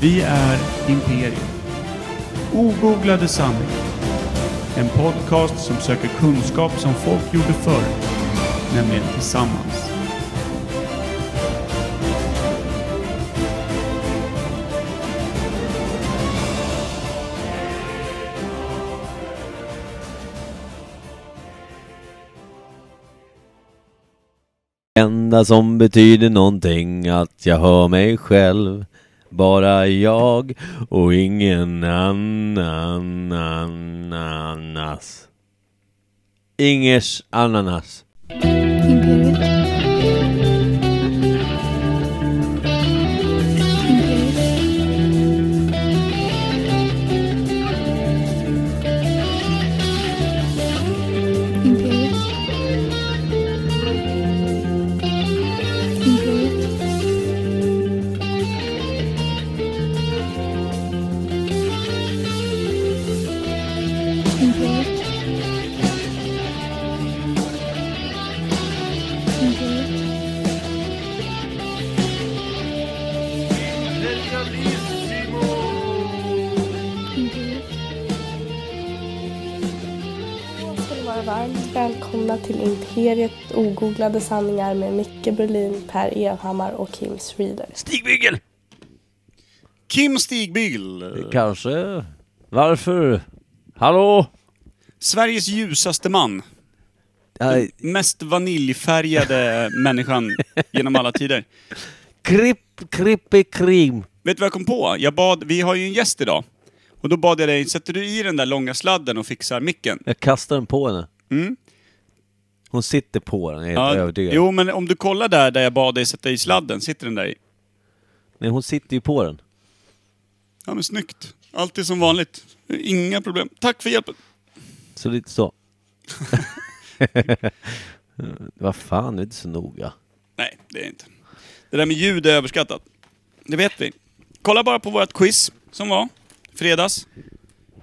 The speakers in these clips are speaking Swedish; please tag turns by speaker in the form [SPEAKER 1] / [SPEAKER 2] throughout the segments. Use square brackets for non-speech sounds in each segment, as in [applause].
[SPEAKER 1] Vi är Imperium. Ogooglade sanningar. En podcast som söker kunskap som folk gjorde förr, nämligen tillsammans.
[SPEAKER 2] enda som betyder någonting att jag hör mig själv bara jag och ingen annan ananas. Ingers ananas.
[SPEAKER 3] Imperiet. Imperiet. Imperiet. Imperiet. Imperiet. Imperiet. Imperiet.
[SPEAKER 4] ska ni vara varmt välkomna till Imperiet ogooglade sanningar med Micke Berlin, Per Evhammar och Kim Reader.
[SPEAKER 2] Stigbygel!
[SPEAKER 5] Kim Stigbygel,
[SPEAKER 2] Kanske. Varför? Hallå?
[SPEAKER 5] Sveriges ljusaste man.
[SPEAKER 2] Aj,
[SPEAKER 1] [laughs]
[SPEAKER 5] Mest vaniljfärgade människan genom alla tider.
[SPEAKER 2] Kripp, krippi, krim.
[SPEAKER 5] Vet du vad jag kom på? Jag bad, vi har ju en gäst idag. Och då bad jag dig, sätter du i den där långa sladden och fixar micken?
[SPEAKER 2] Jag kastar den på henne.
[SPEAKER 5] Mm.
[SPEAKER 2] Hon sitter på den, jag är helt övertygad.
[SPEAKER 5] jo, men om du kollar där, där jag bad dig sätta i sladden, sitter den där i?
[SPEAKER 2] Nej, hon sitter ju på den.
[SPEAKER 5] Ja, men snyggt. Allt är som vanligt. Inga problem. Tack för hjälpen.
[SPEAKER 2] Så lite så. [laughs] Vad fan, det är inte så noga.
[SPEAKER 5] Nej, det är inte. Det där med ljud är överskattat. Det vet vi. Kolla bara på vårt quiz som var fredags.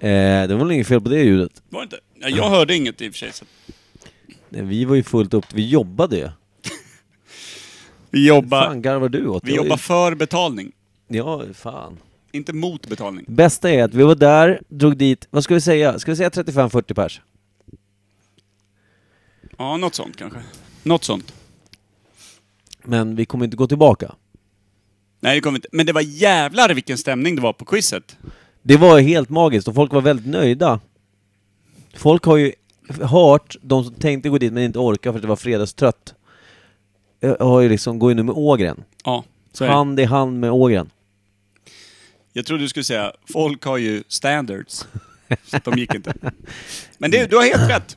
[SPEAKER 2] Eh, det var väl inget fel på det ljudet.
[SPEAKER 5] Var det inte? Ja, jag hörde inget i och för sig. Så
[SPEAKER 2] Nej, Eh, Vi var ju fullt upp, vi jobbade ju.
[SPEAKER 5] vi
[SPEAKER 2] Vad
[SPEAKER 5] jobbar,
[SPEAKER 2] fan garvar du åt?
[SPEAKER 5] vi
[SPEAKER 2] Jag var ju-
[SPEAKER 5] jobbar för betalning,
[SPEAKER 2] Ja, fan.
[SPEAKER 5] inte mot betalning.
[SPEAKER 2] Bästa är att vi var där, drog dit, vad ska vi säga? Ska vi säga 35-40 pers?
[SPEAKER 5] Ja, något sånt kanske. Något sånt.
[SPEAKER 2] Men vi kommer inte gå tillbaka.
[SPEAKER 5] Nej, det kommer inte. Men det var jävlar vilken stämning det var på quizet.
[SPEAKER 2] Det var helt magiskt och folk var väldigt nöjda. Folk har ju hört, de som tänkte gå dit men inte orkar för att det var fredagstrött, eh, har ju liksom, går ju nu med Ågren.
[SPEAKER 5] Ja, så är det.
[SPEAKER 2] Hand i hand med Ågren.
[SPEAKER 5] Jag trodde du skulle säga, folk har ju standards. Så att de gick inte. Men det, du har helt rätt.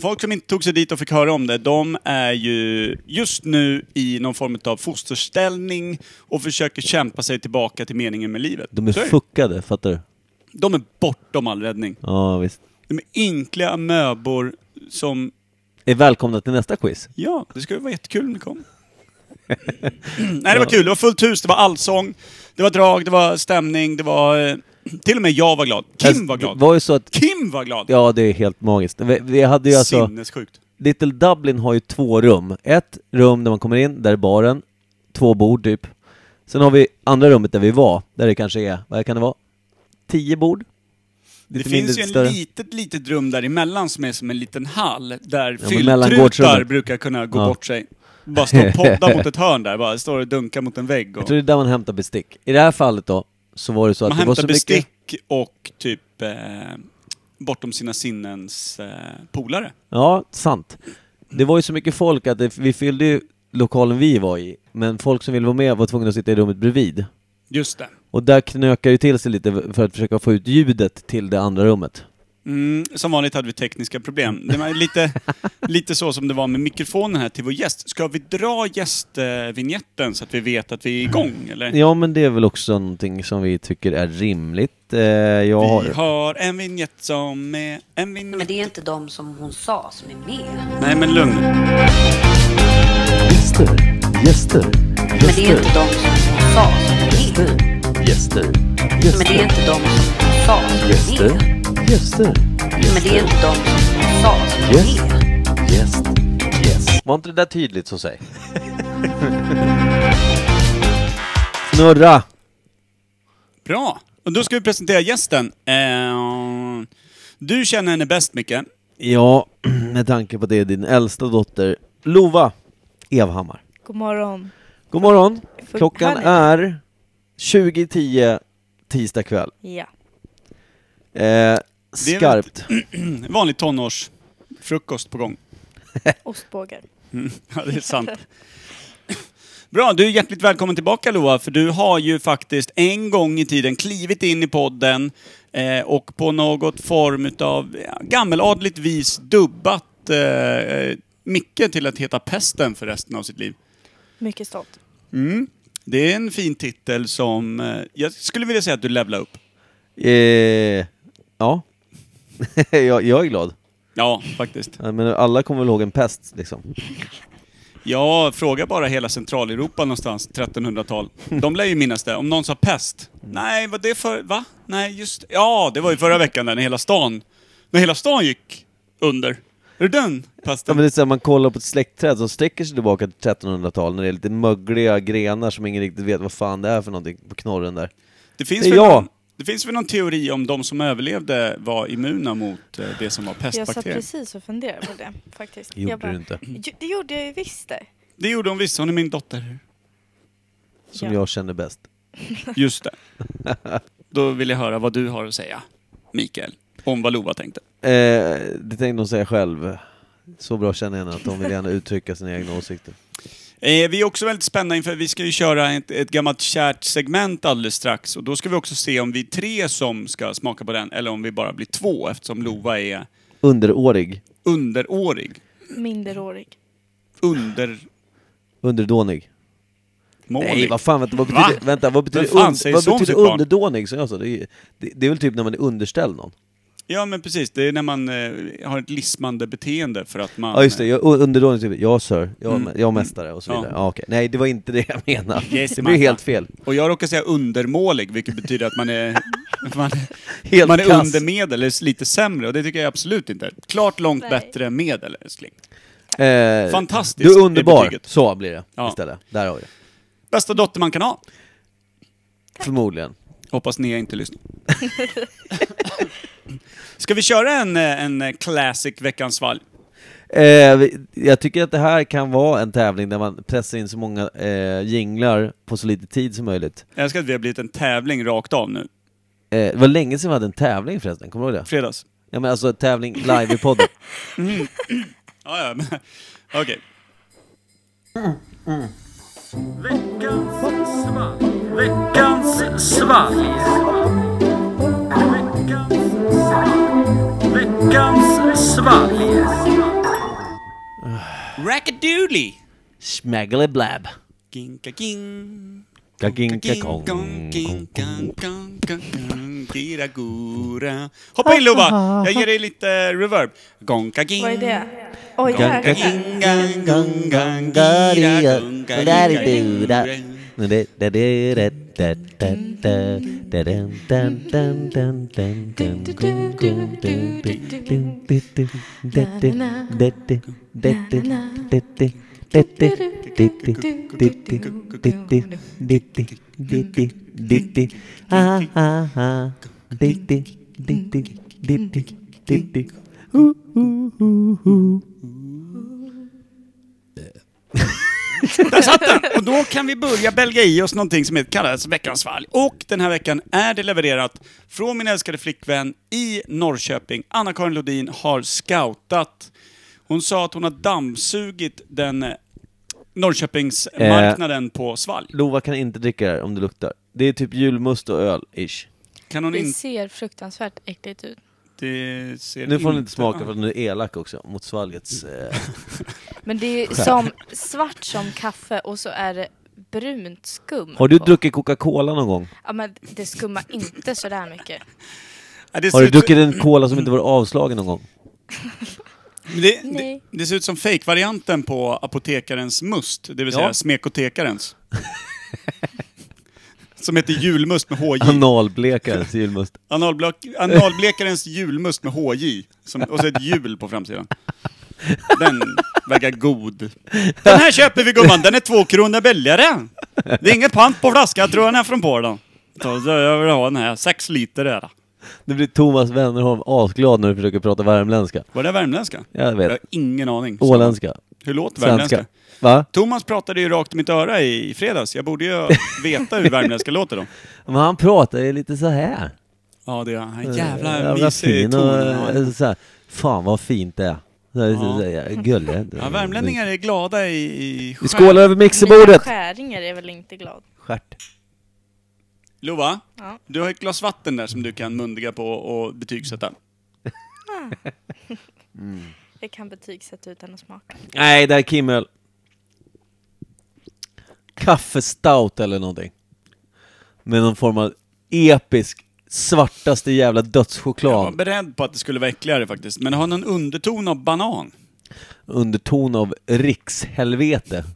[SPEAKER 5] [clears throat] Folk som inte tog sig dit och fick höra om det, de är ju just nu i någon form av fosterställning och försöker kämpa sig tillbaka till meningen med livet.
[SPEAKER 2] De är
[SPEAKER 5] Så det.
[SPEAKER 2] fuckade, fattar du?
[SPEAKER 5] de är bortom all räddning.
[SPEAKER 2] Ja, visst.
[SPEAKER 5] De är ynkliga möbor som...
[SPEAKER 2] Är välkomna till nästa quiz.
[SPEAKER 5] Ja, det skulle vara jättekul om ni kom. [clears throat] Nej, det var kul. Det var fullt hus, det var allsång, det var drag, det var stämning, det var... eh, Till och med jag var glad. Kim var glad.
[SPEAKER 2] Alltså, Det var ju så att,
[SPEAKER 5] Kim var glad!
[SPEAKER 2] ja det är helt magiskt. Vi, vi hade ju alltså...
[SPEAKER 5] Sinnessjukt.
[SPEAKER 2] Little Dublin har ju två rum. Ett rum där man kommer in, där är baren. Två bord typ. Sen har vi andra rummet där vi var, där det kanske är, vad kan det vara? Tio bord?
[SPEAKER 5] Det
[SPEAKER 2] Lite mindre,
[SPEAKER 5] finns ju
[SPEAKER 2] lite
[SPEAKER 5] ett
[SPEAKER 2] större.
[SPEAKER 5] litet, litet rum däremellan som är som en liten hall där
[SPEAKER 2] men
[SPEAKER 5] fylltrutar
[SPEAKER 2] mellangårdsrummet.
[SPEAKER 5] brukar kunna gå
[SPEAKER 2] Ja.
[SPEAKER 5] bort sig. Bara
[SPEAKER 2] [laughs]
[SPEAKER 5] stå och podda mot ett hörn där, bara står och dunka mot en vägg.
[SPEAKER 2] Jag
[SPEAKER 5] Och...
[SPEAKER 2] tror det är där man hämtar bestick. I det här fallet då, så var det så att
[SPEAKER 5] Man
[SPEAKER 2] det var
[SPEAKER 5] hämtar
[SPEAKER 2] så mycket...
[SPEAKER 5] bestick och typ eh, bortom sina sinnens eh, polare.
[SPEAKER 2] Ja, sant. Det var ju så mycket folk att det, vi fyllde ju lokalen vi var i, men folk som ville vara med var tvungna att sitta i rummet bredvid.
[SPEAKER 5] Just det.
[SPEAKER 2] Och där knökar det till sig lite för att försöka få ut ljudet till det andra rummet.
[SPEAKER 5] Mm, som vanligt hade vi tekniska problem. Det var
[SPEAKER 2] [laughs]
[SPEAKER 5] lite, lite så som det var med mikrofonen här till vår gäst. Ska vi dra gästvinjetten så att vi vet att vi är igång, eller?
[SPEAKER 2] Ja, men det är väl också någonting som vi tycker är rimligt. Eh, jag
[SPEAKER 5] Vi
[SPEAKER 2] har...
[SPEAKER 5] har en vignett som är en vignett
[SPEAKER 6] Men det är inte de som hon sa som är med.
[SPEAKER 5] Nej men lugn
[SPEAKER 7] Gäster, gäster,
[SPEAKER 6] Men det är
[SPEAKER 7] gäster,
[SPEAKER 6] inte de som hon sa som är med.
[SPEAKER 7] gäster,
[SPEAKER 6] Men det är
[SPEAKER 7] gäster,
[SPEAKER 6] inte de som hon sa som är
[SPEAKER 7] gäster,
[SPEAKER 6] med.
[SPEAKER 7] gäster,
[SPEAKER 6] Men det är inte de som hon sa som är med.
[SPEAKER 7] gäst, gäst.
[SPEAKER 2] Var inte det där tydligt så säg? [laughs] Snurra!
[SPEAKER 5] Bra! Och då ska vi presentera gästen. Eh, du känner henne bäst, Micke.
[SPEAKER 2] Ja, [clears throat] med tanke på det, din äldsta dotter Lova Evhammar.
[SPEAKER 8] God morgon.
[SPEAKER 2] God morgon.
[SPEAKER 8] Full
[SPEAKER 2] Klockan
[SPEAKER 8] panic.
[SPEAKER 2] är 20.10 tisdag kväll.
[SPEAKER 8] Ja.
[SPEAKER 2] Eh,
[SPEAKER 5] väl-
[SPEAKER 2] skarpt.
[SPEAKER 5] Vanlig tonårsfrukost på gång.
[SPEAKER 8] Ostbågar.
[SPEAKER 5] Ja, det är sant. Bra, du är hjärtligt välkommen tillbaka Loa, för du har ju faktiskt en gång i tiden klivit in i podden eh, och på något form av gammeladligt vis dubbat eh, Micke till att heta Pesten för resten av sitt liv.
[SPEAKER 8] Mycket stolt.
[SPEAKER 5] Mm. Det är en fin titel som eh, jag skulle vilja säga att du levlar upp.
[SPEAKER 2] Eh, ja. [laughs] jag, jag är glad.
[SPEAKER 5] Ja, faktiskt.
[SPEAKER 2] Ja, Men alla kommer väl ihåg en pest liksom.
[SPEAKER 5] Jag frågar bara hela Centraleuropa någonstans, 1300-tal. De lär ju minnas det. Om någon sa pest. Nej, vad det för... Va? Nej, just... Ja, det var ju förra veckan där när hela stan... När hela stan gick under. Är det den
[SPEAKER 2] Ja,
[SPEAKER 5] pesten?
[SPEAKER 2] men det är så här, man kollar på ett släktträd som sträcker sig tillbaka till 1300-talet när det är lite mögliga grenar som ingen riktigt vet vad fan det är för någonting på knorren där.
[SPEAKER 5] det, finns
[SPEAKER 2] det är
[SPEAKER 5] väl
[SPEAKER 2] jag.
[SPEAKER 5] någon, det finns väl någon teori om de som överlevde var immuna mot eh, det som var
[SPEAKER 8] Jag satt
[SPEAKER 5] pestbakterier?
[SPEAKER 8] precis och funderade på det faktiskt.
[SPEAKER 2] Gjorde
[SPEAKER 8] jag bara,
[SPEAKER 2] du inte.
[SPEAKER 8] "Jo, Det gjorde jag ju visst det.
[SPEAKER 5] Det gjorde de visst, hon är min
[SPEAKER 8] [laughs]
[SPEAKER 5] dotter.
[SPEAKER 2] Som
[SPEAKER 8] Ja.
[SPEAKER 2] jag känner bäst.
[SPEAKER 5] Just det. Då vill jag höra vad du har att säga, Mikael, om vad Lova tänkte.
[SPEAKER 2] Eh, det tänkte hon säga själv. Så bra känner jag henne att hon vill gärna uttrycka sina egna åsikter.
[SPEAKER 5] Eh, vi är också väldigt spända inför, vi ska ju köra ett, ett gammalt kärt segment alldeles strax och då ska vi också se om vi är tre som ska smaka på den eller om vi bara blir två eftersom Lova är
[SPEAKER 2] Underårig.
[SPEAKER 5] underårig.
[SPEAKER 8] Minderårig.
[SPEAKER 5] Undermålig.
[SPEAKER 2] Underdånig. Nej, vad fan, vänta, vad
[SPEAKER 5] Va?
[SPEAKER 2] betyder, vänta, vad betyder,
[SPEAKER 5] fan
[SPEAKER 2] und-
[SPEAKER 5] säger
[SPEAKER 2] vad
[SPEAKER 5] så om
[SPEAKER 2] betyder
[SPEAKER 5] sitt barn?
[SPEAKER 2] underdånig som jag sa? Det är, ju- det, det är väl typ när man är underställd någon?
[SPEAKER 5] Ja men precis, det är när man eh, har ett lismande beteende för att man...
[SPEAKER 2] Ja just det, jag, underdånig typ, ja sir, jag, jag mästare och så
[SPEAKER 5] Mm. Ja.
[SPEAKER 2] vidare. Ja. okej. Nej det var inte det jag menade.
[SPEAKER 5] Yes,
[SPEAKER 2] det blir ju
[SPEAKER 5] Martha.
[SPEAKER 2] helt fel.
[SPEAKER 5] Och jag råkar säga undermålig, vilket betyder att man är...
[SPEAKER 2] [laughs]
[SPEAKER 5] Man,
[SPEAKER 2] Helt
[SPEAKER 5] man är
[SPEAKER 2] kass.
[SPEAKER 5] under medel, eller lite sämre, och det tycker jag absolut inte. Klart långt
[SPEAKER 8] Nej.
[SPEAKER 5] bättre än medel, älskling.
[SPEAKER 2] Eh,
[SPEAKER 5] Fantastiskt,
[SPEAKER 2] Du är
[SPEAKER 5] är
[SPEAKER 2] underbar,
[SPEAKER 5] betyget.
[SPEAKER 2] så blir det
[SPEAKER 5] Ja.
[SPEAKER 2] istället. Där har vi det.
[SPEAKER 5] Bästa dotter man kan ha.
[SPEAKER 2] Förmodligen.
[SPEAKER 5] Hoppas ni inte lyssnar. Ska vi köra en, eh, en eh, classic Veckans Valg?
[SPEAKER 2] Eh, vi- jag tycker att det här kan vara en tävling där man pressar in så många eh, jinglar på så lite tid som möjligt.
[SPEAKER 5] Jag älskar att vi har blivit en tävling rakt av nu.
[SPEAKER 2] Eh, det var länge sedan vi hade en tävling förresten, kommer du ihåg det?
[SPEAKER 5] Fredags.
[SPEAKER 2] Ja men alltså tävling live i podden.
[SPEAKER 5] Ja, ja, men- [laughs] Okej. Veckans svalg. Veckans svalg. Veckans svalg. Rackadoodly.
[SPEAKER 2] Smaggly blab.
[SPEAKER 5] Ginka ging.
[SPEAKER 2] Kakinka
[SPEAKER 5] Ginka
[SPEAKER 2] kong.
[SPEAKER 5] ginka gong, gong, gira gura. Hoppa in Lova! Jag ger dig lite reverb. Gonka ging.
[SPEAKER 8] Vad är det? Oj,
[SPEAKER 2] Ganka-
[SPEAKER 8] jäklar.
[SPEAKER 5] Där satt den! Och då kan vi börja belga i oss någonting som heter- kallas Veckans fall. Och den här veckan är det levererat från min älskade flickvän i Norrköping. Anna-Karin Lodin har scoutat. Hon sa att hon har dammsugit den eh,
[SPEAKER 2] Eh.
[SPEAKER 5] Norrköpingsmarknaden på svalg.
[SPEAKER 2] Lova kan inte dricka det här om det luktar. Det är typ julmust och öl, ish.
[SPEAKER 5] Kan hon
[SPEAKER 8] Det
[SPEAKER 5] inte...
[SPEAKER 8] ser fruktansvärt äckligt ut.
[SPEAKER 5] det ser
[SPEAKER 2] Nu får hon inte smaka för att hon är elak också mot svalgets... Eh,
[SPEAKER 8] Men det är ju som svart som kaffe och så är det brunt skum.
[SPEAKER 2] [laughs] har du
[SPEAKER 8] på.
[SPEAKER 2] druckit Coca-Cola någon gång?
[SPEAKER 8] Ja, men det skummar inte sådär mycket.
[SPEAKER 5] Ja, det ser
[SPEAKER 2] Har du
[SPEAKER 5] ut som-
[SPEAKER 2] druckit en cola som inte var avslagen någon gång? [laughs]
[SPEAKER 5] Det, det,
[SPEAKER 8] Nej.
[SPEAKER 5] det ser ut som fake-varianten på apotekarens must, det vill
[SPEAKER 2] Ja.
[SPEAKER 5] säga smekotekarens. [laughs] som heter julmust med HJ.
[SPEAKER 2] Analblekarens julmust.
[SPEAKER 5] Analblek, analblekarens julmust med HJ. Som, och så ett hjul på framsidan. Den verkar god. Den här köper vi gumman, den är två kronor billigare. Det är inget pant på flaskan, jag tror den är från Polen. Ta- så Jag vill ha den här, sex liter är det.
[SPEAKER 2] Nu blir Thomas Wennerholm asglad när du försöker prata värmländska.
[SPEAKER 5] Var det värmländska?
[SPEAKER 2] Jag
[SPEAKER 5] Jag har
[SPEAKER 2] vet.
[SPEAKER 5] ingen aning.
[SPEAKER 2] Åländska.
[SPEAKER 5] Hur låter
[SPEAKER 2] Svenska.
[SPEAKER 5] värmländska?
[SPEAKER 2] Va?
[SPEAKER 5] Thomas pratade ju rakt i mitt öra i i fredags. Jag borde ju veta hur värmländska låter då.
[SPEAKER 2] Men han pratar ju lite så här.
[SPEAKER 5] Ja, det är han.
[SPEAKER 2] Jävla
[SPEAKER 5] Jävla mysig
[SPEAKER 2] fin
[SPEAKER 5] ton.
[SPEAKER 2] och,
[SPEAKER 5] han har.
[SPEAKER 2] eh, så här, Fan vad fint det är. Så här, så här, Gullig.
[SPEAKER 5] Ja, värmlänningar är glada i... i
[SPEAKER 2] Vi skålar över
[SPEAKER 8] Mia
[SPEAKER 2] mixerbordet!
[SPEAKER 8] Skäringer är väl inte glad?
[SPEAKER 2] Stjärt.
[SPEAKER 5] Lova,
[SPEAKER 8] Ja.
[SPEAKER 5] du har ett glas vatten där som du kan mundiga på och betygsätta.
[SPEAKER 8] Jag kan betygsätta utan att smaka.
[SPEAKER 2] Nej, det här är Kimmel. Kaffestout eller någonting. Med någon form av episk, svartaste jävla
[SPEAKER 5] Jag var
[SPEAKER 2] dödschoklad.
[SPEAKER 5] beredd på att det skulle vara äckligare faktiskt, men det har någon underton av banan.
[SPEAKER 2] Underton av rikshelvete.
[SPEAKER 5] [laughs]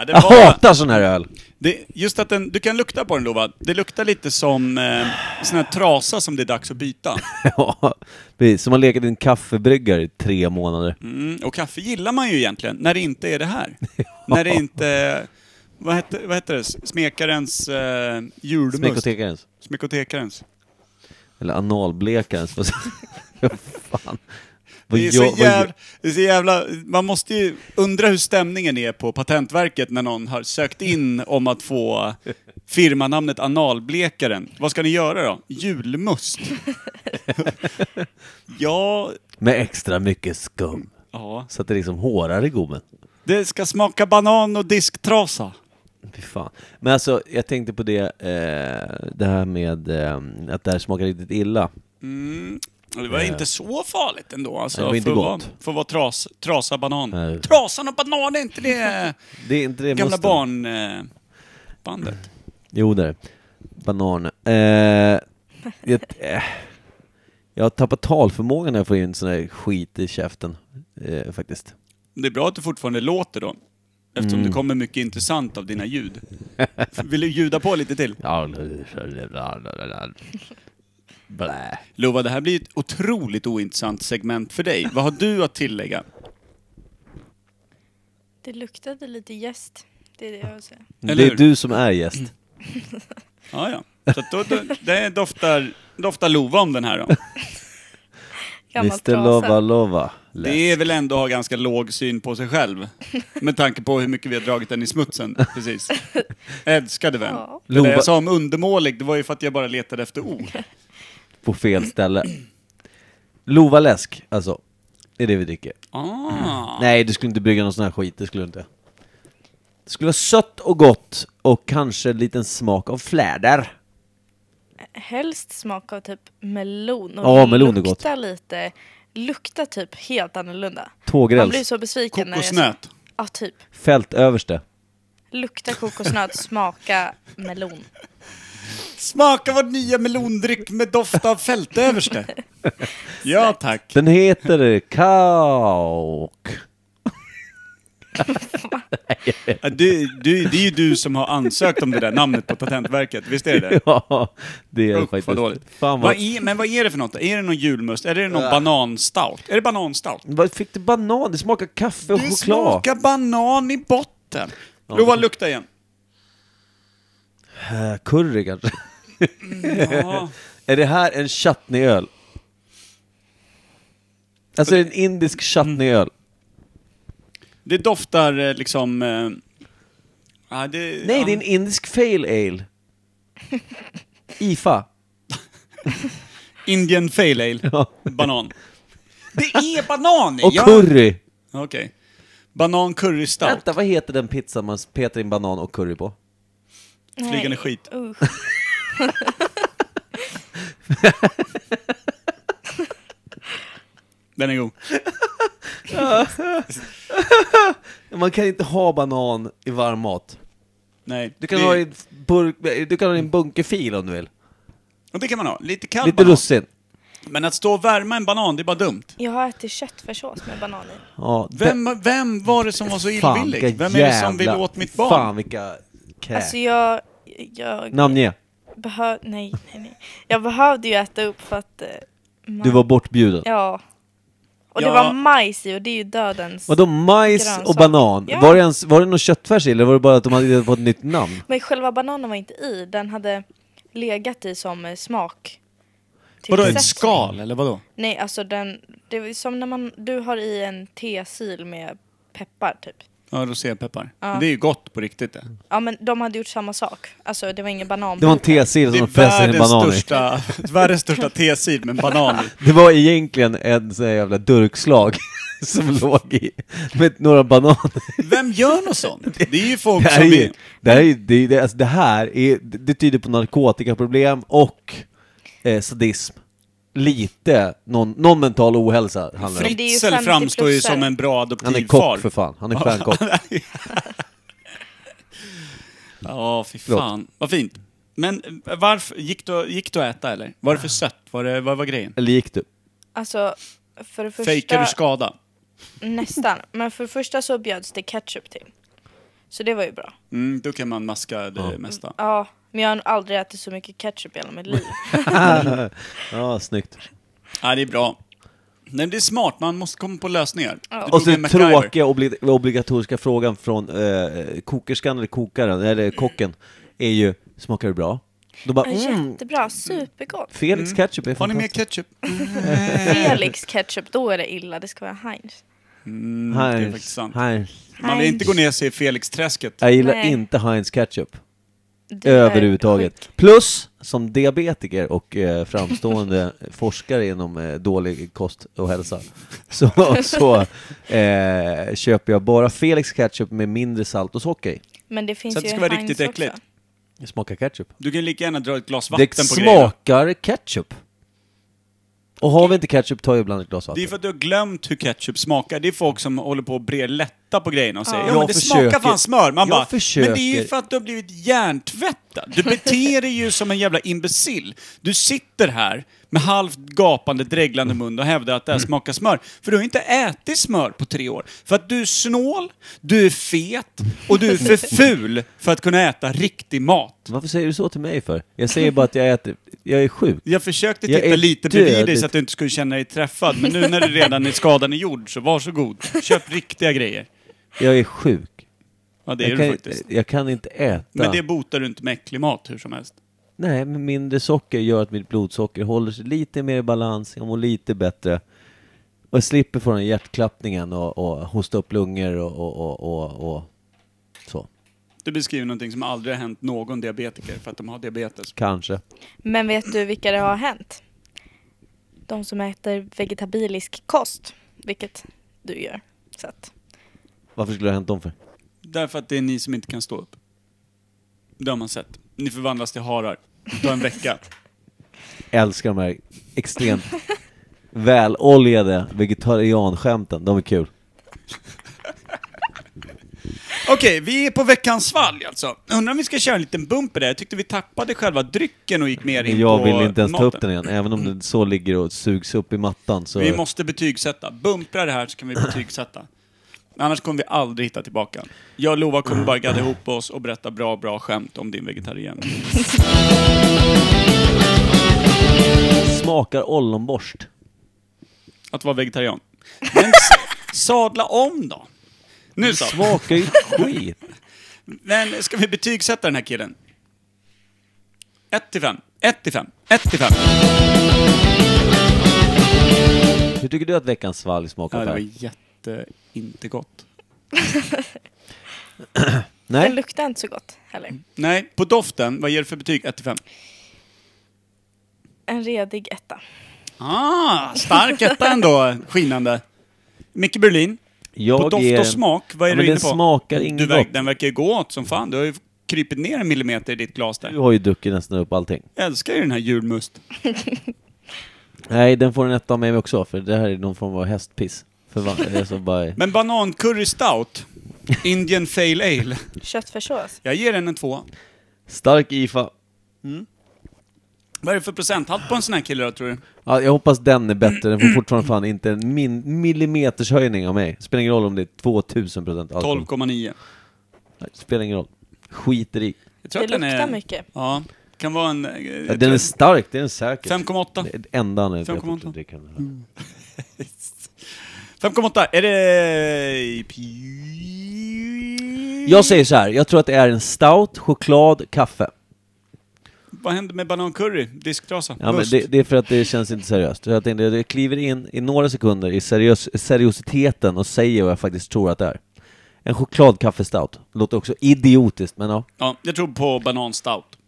[SPEAKER 5] Ja, det
[SPEAKER 2] Jag hatar sån här öl! [laughs]
[SPEAKER 5] det, just att den, du kan lukta på den Lova, det luktar lite som eh, sån här trasa som det är dags att byta.
[SPEAKER 2] Ja, precis. Som har legat i en kaffebryggare i tre månader.
[SPEAKER 5] Mm, och kaffe gillar man ju egentligen, när det inte är det här. [laughs] När det inte... Vad hette, vad hette det? Smekarens eh, julmust?
[SPEAKER 2] Smekotekarens.
[SPEAKER 5] Smekotekarens.
[SPEAKER 2] Eller analblekarens. [laughs] Vad fan. Vad
[SPEAKER 5] Det är,
[SPEAKER 2] gör-
[SPEAKER 5] så
[SPEAKER 2] vad gör-
[SPEAKER 5] jävla, det är så jävla... Man måste ju undra hur stämningen är på Patentverket när någon har sökt in om att få firmanamnet Analblekaren. Vad ska ni göra då?
[SPEAKER 2] [laughs]
[SPEAKER 5] Julmust? ja...
[SPEAKER 2] Med extra mycket skum.
[SPEAKER 5] Ja.
[SPEAKER 2] Så att det liksom hårar i gommen.
[SPEAKER 5] Det ska smaka banan och disktrasa.
[SPEAKER 2] Fy fan. Men alltså, jag tänkte på det, eh, det här med eh, att det här smakar riktigt illa.
[SPEAKER 5] Och Det var inte så farligt ändå. Alltså,
[SPEAKER 2] Nej, det var inte
[SPEAKER 5] för att
[SPEAKER 2] gott.
[SPEAKER 5] vara- För att vara tras, trasa banan.
[SPEAKER 2] Nej.
[SPEAKER 5] Trasan och banan, är inte det
[SPEAKER 2] Det är inte [laughs] det
[SPEAKER 5] gamla
[SPEAKER 2] musten.
[SPEAKER 5] barnbandet? Eh, bandet?
[SPEAKER 2] Jo, det är det. Banan. Eh, jag, eh, jag har tappat talförmågan när jag får in sån här skit i käften, eh, faktiskt.
[SPEAKER 5] det är bra att du fortfarande låter då. Eftersom det kommer mycket intressant av dina ljud. [laughs] Vill du ljuda på lite till?
[SPEAKER 2] Blä.
[SPEAKER 5] Lova, det här blir ett otroligt ointressant segment för dig. Vad har du att tillägga?
[SPEAKER 8] Det luktade lite jäst. Det är det jag vill säga.
[SPEAKER 2] Det
[SPEAKER 5] Eller
[SPEAKER 2] är
[SPEAKER 5] hur?
[SPEAKER 2] du som är gäst.
[SPEAKER 5] Ja, ja. Så att då, då, det doftar, doftar Lova om den här då.
[SPEAKER 8] [clears throat] Gammal
[SPEAKER 2] Mr Lova
[SPEAKER 8] trasa.
[SPEAKER 2] Lova. Läs.
[SPEAKER 5] Det är väl ändå att ha ganska låg syn på sig själv. Med tanke på hur mycket vi har dragit den i smutsen. Precis. Älskade vän.
[SPEAKER 8] Ja.
[SPEAKER 5] Det där
[SPEAKER 2] Lova-
[SPEAKER 5] jag sa om undermålig, det var ju för att jag bara letade efter ord.
[SPEAKER 2] På fel ställe. Lova läsk, alltså. Det är det vi dricker.
[SPEAKER 5] Ah.
[SPEAKER 2] Nej, du skulle inte brygga någon sån här skit, det skulle du inte. Det skulle vara sött och gott och kanske en liten smak av fläder.
[SPEAKER 8] Helst smak av typ melon.
[SPEAKER 2] Ja, melon är
[SPEAKER 8] lukta lite. Lukta typ helt annorlunda. Man blir
[SPEAKER 2] Tågräls,
[SPEAKER 8] så besviken när jag...
[SPEAKER 5] Kokosnöt.
[SPEAKER 8] Ja, typ.
[SPEAKER 2] fältöverste. [laughs]
[SPEAKER 8] Lukta kokosnöt, smaka melon.
[SPEAKER 5] Smaka vår nya melondryck med doft
[SPEAKER 2] [laughs]
[SPEAKER 5] av fältöverste. Ja tack.
[SPEAKER 2] Den heter Kauk.
[SPEAKER 5] Ja, Du, du, det är ju du som har ansökt om det där namnet på Patentverket, visst är det det?
[SPEAKER 2] [laughs] [laughs] Ja, det är det
[SPEAKER 5] Usch,
[SPEAKER 2] faktiskt.
[SPEAKER 5] vad dåligt.
[SPEAKER 2] Fan
[SPEAKER 5] Vad
[SPEAKER 2] vad...
[SPEAKER 5] är, men vad är det för något? Är det någon julmust? Är det någon bananstout? Är det bananstout?
[SPEAKER 2] Vad fick du banan? Det smakar kaffe och
[SPEAKER 5] Det
[SPEAKER 2] choklad.
[SPEAKER 5] smakar banan i botten. Lova, lukta igen.
[SPEAKER 2] Eh, curry kanske.
[SPEAKER 5] Ja.
[SPEAKER 2] [laughs] Är det här en chutneyöl? Alltså är det en indisk chutneyöl?
[SPEAKER 5] Det doftar eh, liksom... eh, ja, det,
[SPEAKER 2] Nej,
[SPEAKER 5] Mm. ja,
[SPEAKER 2] det är en indisk fail
[SPEAKER 5] [laughs]
[SPEAKER 2] ale. IFA.
[SPEAKER 5] Indian fail ale.
[SPEAKER 2] Ja.
[SPEAKER 5] Banan. Det är banan
[SPEAKER 2] [laughs]
[SPEAKER 5] i!
[SPEAKER 2] Och
[SPEAKER 5] ja.
[SPEAKER 2] curry.
[SPEAKER 5] Okej. Banan curry stout.
[SPEAKER 2] Vänta, vad heter den pizza man petar in banan och curry på?
[SPEAKER 5] Flygande
[SPEAKER 8] Nej,
[SPEAKER 5] skit.
[SPEAKER 8] Usch.
[SPEAKER 5] [laughs] Den är god.
[SPEAKER 2] Man kan inte ha banan i varm mat.
[SPEAKER 5] Nej.
[SPEAKER 2] Du kan
[SPEAKER 5] det,
[SPEAKER 2] ha i en burk, du kan ha i en bunkerfil om du vill.
[SPEAKER 5] och det kan man ha. Lite kall
[SPEAKER 2] Lite
[SPEAKER 5] banan.
[SPEAKER 2] russin.
[SPEAKER 5] Men att stå och värma en banan, det är bara dumt.
[SPEAKER 8] Jag har ätit köttfärssås med banan i.
[SPEAKER 2] Ja, det-
[SPEAKER 5] Vem, vem var det som var så
[SPEAKER 2] Fan,
[SPEAKER 5] illvillig?
[SPEAKER 2] vilka
[SPEAKER 5] Vem är det som vill
[SPEAKER 2] jävla-
[SPEAKER 5] åt mitt barn?
[SPEAKER 2] Fan vilka kräk.
[SPEAKER 8] Alltså jag... jag
[SPEAKER 2] Namnge,
[SPEAKER 8] behö- nej, nej, nej. Jag behövde ju äta upp för att... eh, man-
[SPEAKER 2] du var bortbjuden.
[SPEAKER 8] Ja. Och Och
[SPEAKER 5] Ja.
[SPEAKER 8] det var majs i och det är ju dödens...
[SPEAKER 2] Vadå majs och
[SPEAKER 8] Grönsak.
[SPEAKER 2] banan?
[SPEAKER 8] Ja.
[SPEAKER 2] Var, det ens, var det någon köttfärs i, eller var det bara att de hade fått ett nytt namn?
[SPEAKER 8] Men själva bananen var inte i, den hade legat i som eh, smak. Typ
[SPEAKER 5] Vadå, ett
[SPEAKER 8] tillsättning.
[SPEAKER 5] skal eller vadå?
[SPEAKER 8] Nej, alltså den... Det är som när man... Du har i en tesil med peppar, typ.
[SPEAKER 5] Ja, rosépeppar. Men Det är ju gott på riktigt det.
[SPEAKER 8] Ja, men de hade gjort samma sak. Alltså, det var ingen banan.
[SPEAKER 2] Det var en tesil
[SPEAKER 5] Det är
[SPEAKER 2] som de fäste en
[SPEAKER 5] världens
[SPEAKER 2] banan i.
[SPEAKER 5] största, [laughs] världens största tesid med en banan i.
[SPEAKER 2] Det var egentligen en sån här jävla durkslag [laughs] som låg i, med några bananer.
[SPEAKER 5] Vem gör något sånt? Det är ju folk
[SPEAKER 2] Det här är
[SPEAKER 5] som
[SPEAKER 2] ju,
[SPEAKER 5] är...
[SPEAKER 2] det här är, ju- det, det, alltså det här är, det det tyder på narkotikaproblem och eh, sadism. Lite, någon, någon mental ohälsa handlar det om.
[SPEAKER 8] det är ju
[SPEAKER 5] Fritzl
[SPEAKER 8] 50
[SPEAKER 5] framstår ju
[SPEAKER 8] plussare.
[SPEAKER 5] som en bra
[SPEAKER 2] Han är
[SPEAKER 5] adoptivfar.
[SPEAKER 2] kock för fan, han är
[SPEAKER 5] [laughs]
[SPEAKER 2] stjärnkock.
[SPEAKER 5] Ja, fy fan. Vad fint. Men eh, varför, gick du, gick du att äta eller? Var det för sött? Var det, vad var grejen?
[SPEAKER 2] Eller gick du?
[SPEAKER 8] Alltså, för det första...
[SPEAKER 5] Fejkar du skada?
[SPEAKER 8] Nästan. Men för det första så bjöds det ketchup till. Så det var ju bra.
[SPEAKER 5] Mm, då kan man maska det mesta.
[SPEAKER 8] Ja, men jag har aldrig ätit så mycket ketchup i hela mitt liv.
[SPEAKER 2] Mm. Ja, snyggt.
[SPEAKER 5] Ja, det är bra. Nej, men det är smart. Man måste komma på lösningar. Du
[SPEAKER 2] Och
[SPEAKER 5] drog
[SPEAKER 2] så den
[SPEAKER 5] en MacGyver.
[SPEAKER 2] tråkiga obli- obligatoriska frågan från eh, kokerskan eller kokaren, eller kocken, är ju smakar det bra? Då bara
[SPEAKER 8] Men
[SPEAKER 2] mm,
[SPEAKER 8] Jättebra, supergott.
[SPEAKER 2] Felix ketchup är
[SPEAKER 5] Mm. Har ni mer
[SPEAKER 2] fantastiskt.
[SPEAKER 5] ketchup?
[SPEAKER 2] Mm.
[SPEAKER 8] Felix ketchup, då är det illa. Det ska vara Heinz.
[SPEAKER 5] Det är
[SPEAKER 2] Heinz,
[SPEAKER 5] faktiskt sant.
[SPEAKER 2] Heinz.
[SPEAKER 5] Man vill inte
[SPEAKER 8] Heinz.
[SPEAKER 5] gå ner sig i Felix-träsket.
[SPEAKER 2] Jag gillar
[SPEAKER 8] Nej.
[SPEAKER 2] inte Heinz ketchup.
[SPEAKER 8] Det är
[SPEAKER 2] Överhuvudtaget.
[SPEAKER 8] sjukt.
[SPEAKER 2] Plus, som diabetiker och eh,
[SPEAKER 5] [laughs]
[SPEAKER 2] framstående forskare inom eh, dålig kost och hälsa, [laughs] så, så eh, köper jag bara Felix ketchup med mindre salt och socker i.
[SPEAKER 8] Men det finns
[SPEAKER 5] Så att det
[SPEAKER 8] ju
[SPEAKER 5] ska vara
[SPEAKER 8] Heinz
[SPEAKER 5] riktigt
[SPEAKER 8] också.
[SPEAKER 5] äckligt.
[SPEAKER 2] Det smakar ketchup.
[SPEAKER 5] Du kan lika gärna dra ett glas vatten
[SPEAKER 2] Det
[SPEAKER 5] på grejerna.
[SPEAKER 2] smakar ketchup. Och har vi inte ketchup tar jag ibland ett glas
[SPEAKER 5] Det är
[SPEAKER 2] vatten.
[SPEAKER 5] för att du har glömt hur ketchup smakar. Det är folk som håller på och brer lätta på grejerna och säger ja,
[SPEAKER 2] Jag
[SPEAKER 5] men det smakar
[SPEAKER 2] försöker-
[SPEAKER 5] fan smör.
[SPEAKER 2] jag
[SPEAKER 5] Man bara, men det är ju
[SPEAKER 2] försöker-
[SPEAKER 5] för att du har blivit hjärntvättad. Du beter dig ju som en jävla imbecill. Du sitter här med halvt gapande, dreglande mun och hävdar att det
[SPEAKER 2] Mm.
[SPEAKER 5] här smakar smör. För du har inte ätit smör på tre år. För att du är snål, du är fet och du är för ful för att kunna äta riktig mat.
[SPEAKER 2] Varför säger du så till mig för? Jag säger bara att jag äter, jag är sjuk.
[SPEAKER 5] Jag försökte
[SPEAKER 2] Jag
[SPEAKER 5] titta
[SPEAKER 2] är
[SPEAKER 5] lite bredvid dig
[SPEAKER 2] dödligt.
[SPEAKER 5] så att du inte skulle känna dig träffad, men nu när du redan är skadan är gjord så varsågod. Köp riktiga grejer.
[SPEAKER 2] Jag är sjuk.
[SPEAKER 5] Ja, det är
[SPEAKER 2] Jag
[SPEAKER 5] du
[SPEAKER 2] kan,
[SPEAKER 5] faktiskt.
[SPEAKER 2] jag kan inte äta.
[SPEAKER 5] Men det botar du inte med äcklig mat hur som helst.
[SPEAKER 2] Nej, men mindre socker gör att mitt blodsocker håller sig lite mer i balans, jag mår lite bättre. Och jag slipper få den här hjärtklappningen och, och hosta upp lungor och, och, och, och, och så.
[SPEAKER 5] Du beskriver någonting som aldrig har hänt någon diabetiker för att de har diabetes.
[SPEAKER 2] Kanske.
[SPEAKER 8] Men vet du vilka det har hänt? De som äter vegetabilisk kost, vilket du gör. Så att,
[SPEAKER 2] Varför skulle det ha hänt dem för?
[SPEAKER 5] Därför att det är ni som inte kan stå upp. Det har man sett. Ni förvandlas till harar. Det tar
[SPEAKER 2] [laughs]
[SPEAKER 5] en vecka.
[SPEAKER 2] Älskar de här
[SPEAKER 5] [laughs]
[SPEAKER 2] extremt väloljade vegetarianskämten, de är kul.
[SPEAKER 5] Okej, vi är på veckans svalg alltså. Undrar om vi ska köra en liten bumper där. Jag tyckte vi tappade själva drycken och gick mer in
[SPEAKER 2] Jag
[SPEAKER 5] på
[SPEAKER 2] vill inte ens ta upp
[SPEAKER 5] maten.
[SPEAKER 2] den igen, även om det så ligger och sugs upp i mattan så...
[SPEAKER 5] Vi måste betygsätta. Bumpra det här så kan vi betygsätta. Annars kommer vi aldrig hitta tillbaka. Jag och Lova kommer bara gadda ihop oss och berätta bra, bra skämt om din vegetarian.
[SPEAKER 2] Smakar ollonborst.
[SPEAKER 5] Att vara vegetarian. Men s- sadla om då. Nu så.
[SPEAKER 2] Smakar
[SPEAKER 5] [laughs]
[SPEAKER 2] ju skit.
[SPEAKER 5] Men ska vi betygsätta den här killen? 1 till 5. 1 till 5. 1 till 5.
[SPEAKER 2] Hur tycker du att veckans svalg smakar?
[SPEAKER 5] Ja, det
[SPEAKER 2] Per?
[SPEAKER 5] var jätte... Inte gott.
[SPEAKER 8] den
[SPEAKER 2] Nej?
[SPEAKER 8] luktar inte så gott heller.
[SPEAKER 5] Nej, på doften, vad ger du för betyg? 1 till 5?
[SPEAKER 8] En redig etta.
[SPEAKER 5] Ah, stark etta ändå. Skinande. Micke Berlin?
[SPEAKER 2] Jag
[SPEAKER 5] på doft
[SPEAKER 2] ger
[SPEAKER 5] och
[SPEAKER 2] en-
[SPEAKER 5] smak, vad är
[SPEAKER 2] Ja,
[SPEAKER 5] du
[SPEAKER 2] men
[SPEAKER 5] inne
[SPEAKER 2] den
[SPEAKER 5] på?
[SPEAKER 2] smakar inget
[SPEAKER 5] du verk,
[SPEAKER 2] gott.
[SPEAKER 5] Den verkar ju gå åt som fan. Du har ju krypit ner en millimeter i ditt glas
[SPEAKER 2] Du
[SPEAKER 5] där.
[SPEAKER 2] har ju druckit nästan upp allting.
[SPEAKER 5] Jag älskar ju den här julmust.
[SPEAKER 2] Nej, den får en etta av mig också, för det här är någon form av hästpiss. För va- det är så
[SPEAKER 5] [laughs]
[SPEAKER 2] bara...
[SPEAKER 5] Men banancurry stout, Indian fail ale.
[SPEAKER 8] Köttfärssås.
[SPEAKER 5] Jag ger den en tvåa.
[SPEAKER 2] Stark IFA.
[SPEAKER 5] Vad är det för procenthalt på en sån här kille då, tror du?
[SPEAKER 2] Ja, jag hoppas den är bättre,
[SPEAKER 5] [clears throat]
[SPEAKER 2] den får fortfarande fan inte en min- millimeters höjning av mig. Spelar ingen roll om det är 2000 procent
[SPEAKER 5] 12,9.
[SPEAKER 2] Spelar ingen roll. Skiter i.
[SPEAKER 5] Jag tror
[SPEAKER 8] Det
[SPEAKER 5] att den
[SPEAKER 8] luktar
[SPEAKER 5] är...
[SPEAKER 8] mycket.
[SPEAKER 5] Ja, kan vara en... eh,
[SPEAKER 2] Ja,
[SPEAKER 5] jag
[SPEAKER 2] den
[SPEAKER 5] tror-
[SPEAKER 2] är stark, det är den säkert.
[SPEAKER 5] 5,8.
[SPEAKER 2] Det är det enda han är
[SPEAKER 5] 5,8.
[SPEAKER 2] dricker.
[SPEAKER 5] 5,8. Är det... pi-
[SPEAKER 2] Jag säger så här, jag tror att det är en stout, choklad, kaffe.
[SPEAKER 5] Vad händer med banancurry? Disktrasa?
[SPEAKER 2] Ja, men
[SPEAKER 5] Must?
[SPEAKER 2] det, det är för att det känns inte seriöst. Jag tänkte, jag kliver in i några sekunder i seriös, seriositeten och säger vad jag faktiskt tror att det är. En chokladkaffestout. Låter också idiotiskt, men ja.
[SPEAKER 5] Ja, jag tror på bananstout.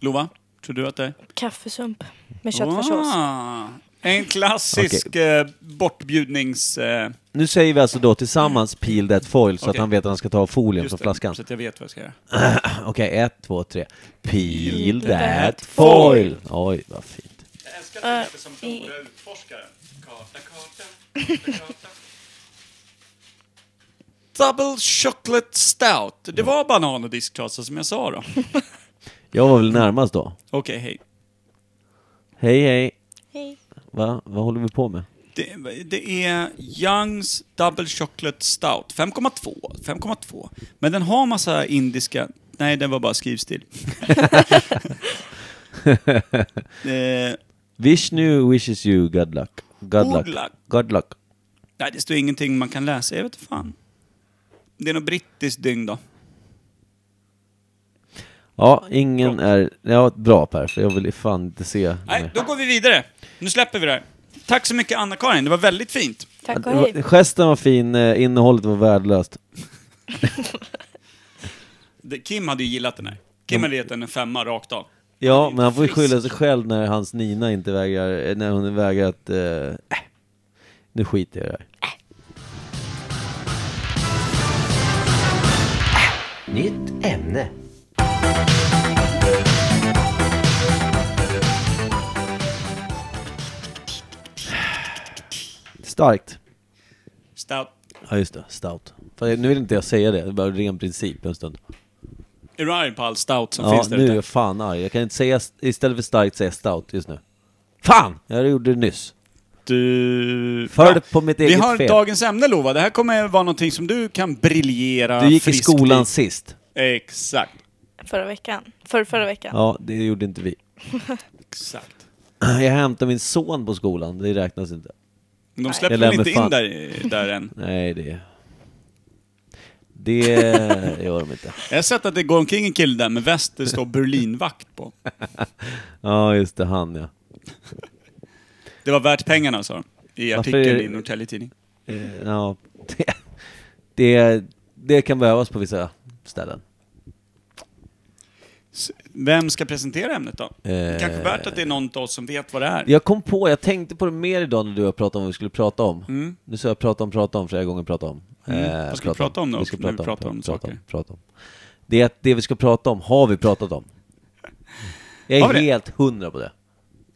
[SPEAKER 5] Lova, tror du att det är?
[SPEAKER 8] Kaffesump med köttfärssås.
[SPEAKER 5] Ah, en klassisk eh, bortbjudnings... Eh,
[SPEAKER 2] Nu säger vi alltså då tillsammans peel that foil, så att
[SPEAKER 5] Okej.
[SPEAKER 2] han vet att han ska ta folien
[SPEAKER 5] just
[SPEAKER 2] från
[SPEAKER 5] det,
[SPEAKER 2] flaskan.
[SPEAKER 5] Så att jag vet vad jag ska göra.
[SPEAKER 2] Okej, ett, två, tre. Peel
[SPEAKER 8] Peel
[SPEAKER 2] that
[SPEAKER 8] that
[SPEAKER 2] foil! Oj, vad fint.
[SPEAKER 5] Jag älskar att det som stora utforskare. Karta, karta, karta, karta. Double chocolate stout. Det var banan och disktrasa som jag sa då. Okej,
[SPEAKER 2] Jag var väl närmast då.
[SPEAKER 5] hej.
[SPEAKER 2] Hej, hej.
[SPEAKER 8] Hej.
[SPEAKER 2] Va? Vad håller vi på med?
[SPEAKER 5] Det, det är Youngs Double Chocolate Stout. 5,2. 5,2. Men den har massa indiska... Nej, den var
[SPEAKER 2] [laughs]
[SPEAKER 5] bara skrivstil. eh,
[SPEAKER 2] Vishnu wishes you good luck. Good
[SPEAKER 5] Good
[SPEAKER 2] luck.
[SPEAKER 5] luck.
[SPEAKER 2] Good luck.
[SPEAKER 5] nej, det står ingenting man kan läsa. Jag vet inte fan. Det är något brittiskt dygn då.
[SPEAKER 2] Ja, ingen är... Ja, bra Per, för jag vill fan inte se...
[SPEAKER 5] Nej, då går vi vidare. Nu släpper vi det här. Tack så mycket Anna-Karin, det var väldigt fint.
[SPEAKER 8] Tack och
[SPEAKER 2] Det var-
[SPEAKER 8] hej.
[SPEAKER 2] Gesten var fin, eh, innehållet var värdelöst.
[SPEAKER 5] Det- Kim hade ju gillat den här.
[SPEAKER 2] Mm.
[SPEAKER 5] Kim hade gett den en femma rakt av.
[SPEAKER 2] Ja, men han får ju
[SPEAKER 5] frisk.
[SPEAKER 2] skylla sig själv när hans Nina inte vägrar... eh, När hon vägrar att... Eh, äh, nu skiter jag i det här.
[SPEAKER 7] Nytt ämne.
[SPEAKER 2] Starkt.
[SPEAKER 5] Stout.
[SPEAKER 2] Ja, just det. Stout. För nu vill inte jag säga det, det är bara ren princip en stund.
[SPEAKER 5] Är du arg på all stout som
[SPEAKER 2] Ja,
[SPEAKER 5] finns där
[SPEAKER 2] nu är
[SPEAKER 5] ute?
[SPEAKER 2] jag fan arg. Jag kan inte säga... st- Istället för starkt säga stout just nu. Fan! Jag gjorde det nyss.
[SPEAKER 5] Du...
[SPEAKER 2] För
[SPEAKER 5] Ja.
[SPEAKER 2] på mitt
[SPEAKER 5] Vi
[SPEAKER 2] eget
[SPEAKER 5] har
[SPEAKER 2] fel.
[SPEAKER 5] dagens ämne Lova, det här kommer vara någonting som du kan briljera
[SPEAKER 2] Du gick i
[SPEAKER 5] friskt
[SPEAKER 2] skolan sist.
[SPEAKER 5] Exakt.
[SPEAKER 8] Förra veckan. För, förra veckan.
[SPEAKER 2] Ja, det gjorde inte vi. [clears throat]
[SPEAKER 5] Exakt.
[SPEAKER 2] Jag hämtade min son på skolan, det räknas inte.
[SPEAKER 5] De
[SPEAKER 2] Jag
[SPEAKER 5] släpper
[SPEAKER 2] lär
[SPEAKER 5] väl inte
[SPEAKER 2] mig
[SPEAKER 5] in
[SPEAKER 2] fan.
[SPEAKER 5] där, där än?
[SPEAKER 2] Nej, det... Det [laughs] gör de inte.
[SPEAKER 5] Jag har sett att det går omkring en kille där med väst det står Berlinvakt på.
[SPEAKER 2] Ja, just det, han ja.
[SPEAKER 5] Det var värt pengarna sa de. I
[SPEAKER 2] Varför
[SPEAKER 5] artikeln
[SPEAKER 2] är det-
[SPEAKER 5] i Norrtelje Tidning.
[SPEAKER 2] Eh, ja det, det, det kan behövas på vissa ställen.
[SPEAKER 5] S- Vem ska presentera ämnet då?
[SPEAKER 2] Eh.
[SPEAKER 5] Kanske värt att det är någon av oss som vet vad det är.
[SPEAKER 2] Jag kom på, jag tänkte på det mer idag när du och jag pratade om vad vi skulle prata om. Nu sa jag prata om, prata om flera gånger, prata om. Eh,
[SPEAKER 5] Mm. Vad ska vi prata om då,
[SPEAKER 2] Vi ska
[SPEAKER 5] när vi
[SPEAKER 2] prata om,
[SPEAKER 5] pratar om
[SPEAKER 2] prata om,
[SPEAKER 5] saker?
[SPEAKER 2] prata om. Det är att det vi ska prata om har vi pratat om. Jag
[SPEAKER 5] Har vi
[SPEAKER 2] är
[SPEAKER 5] det?
[SPEAKER 2] helt hundra på det.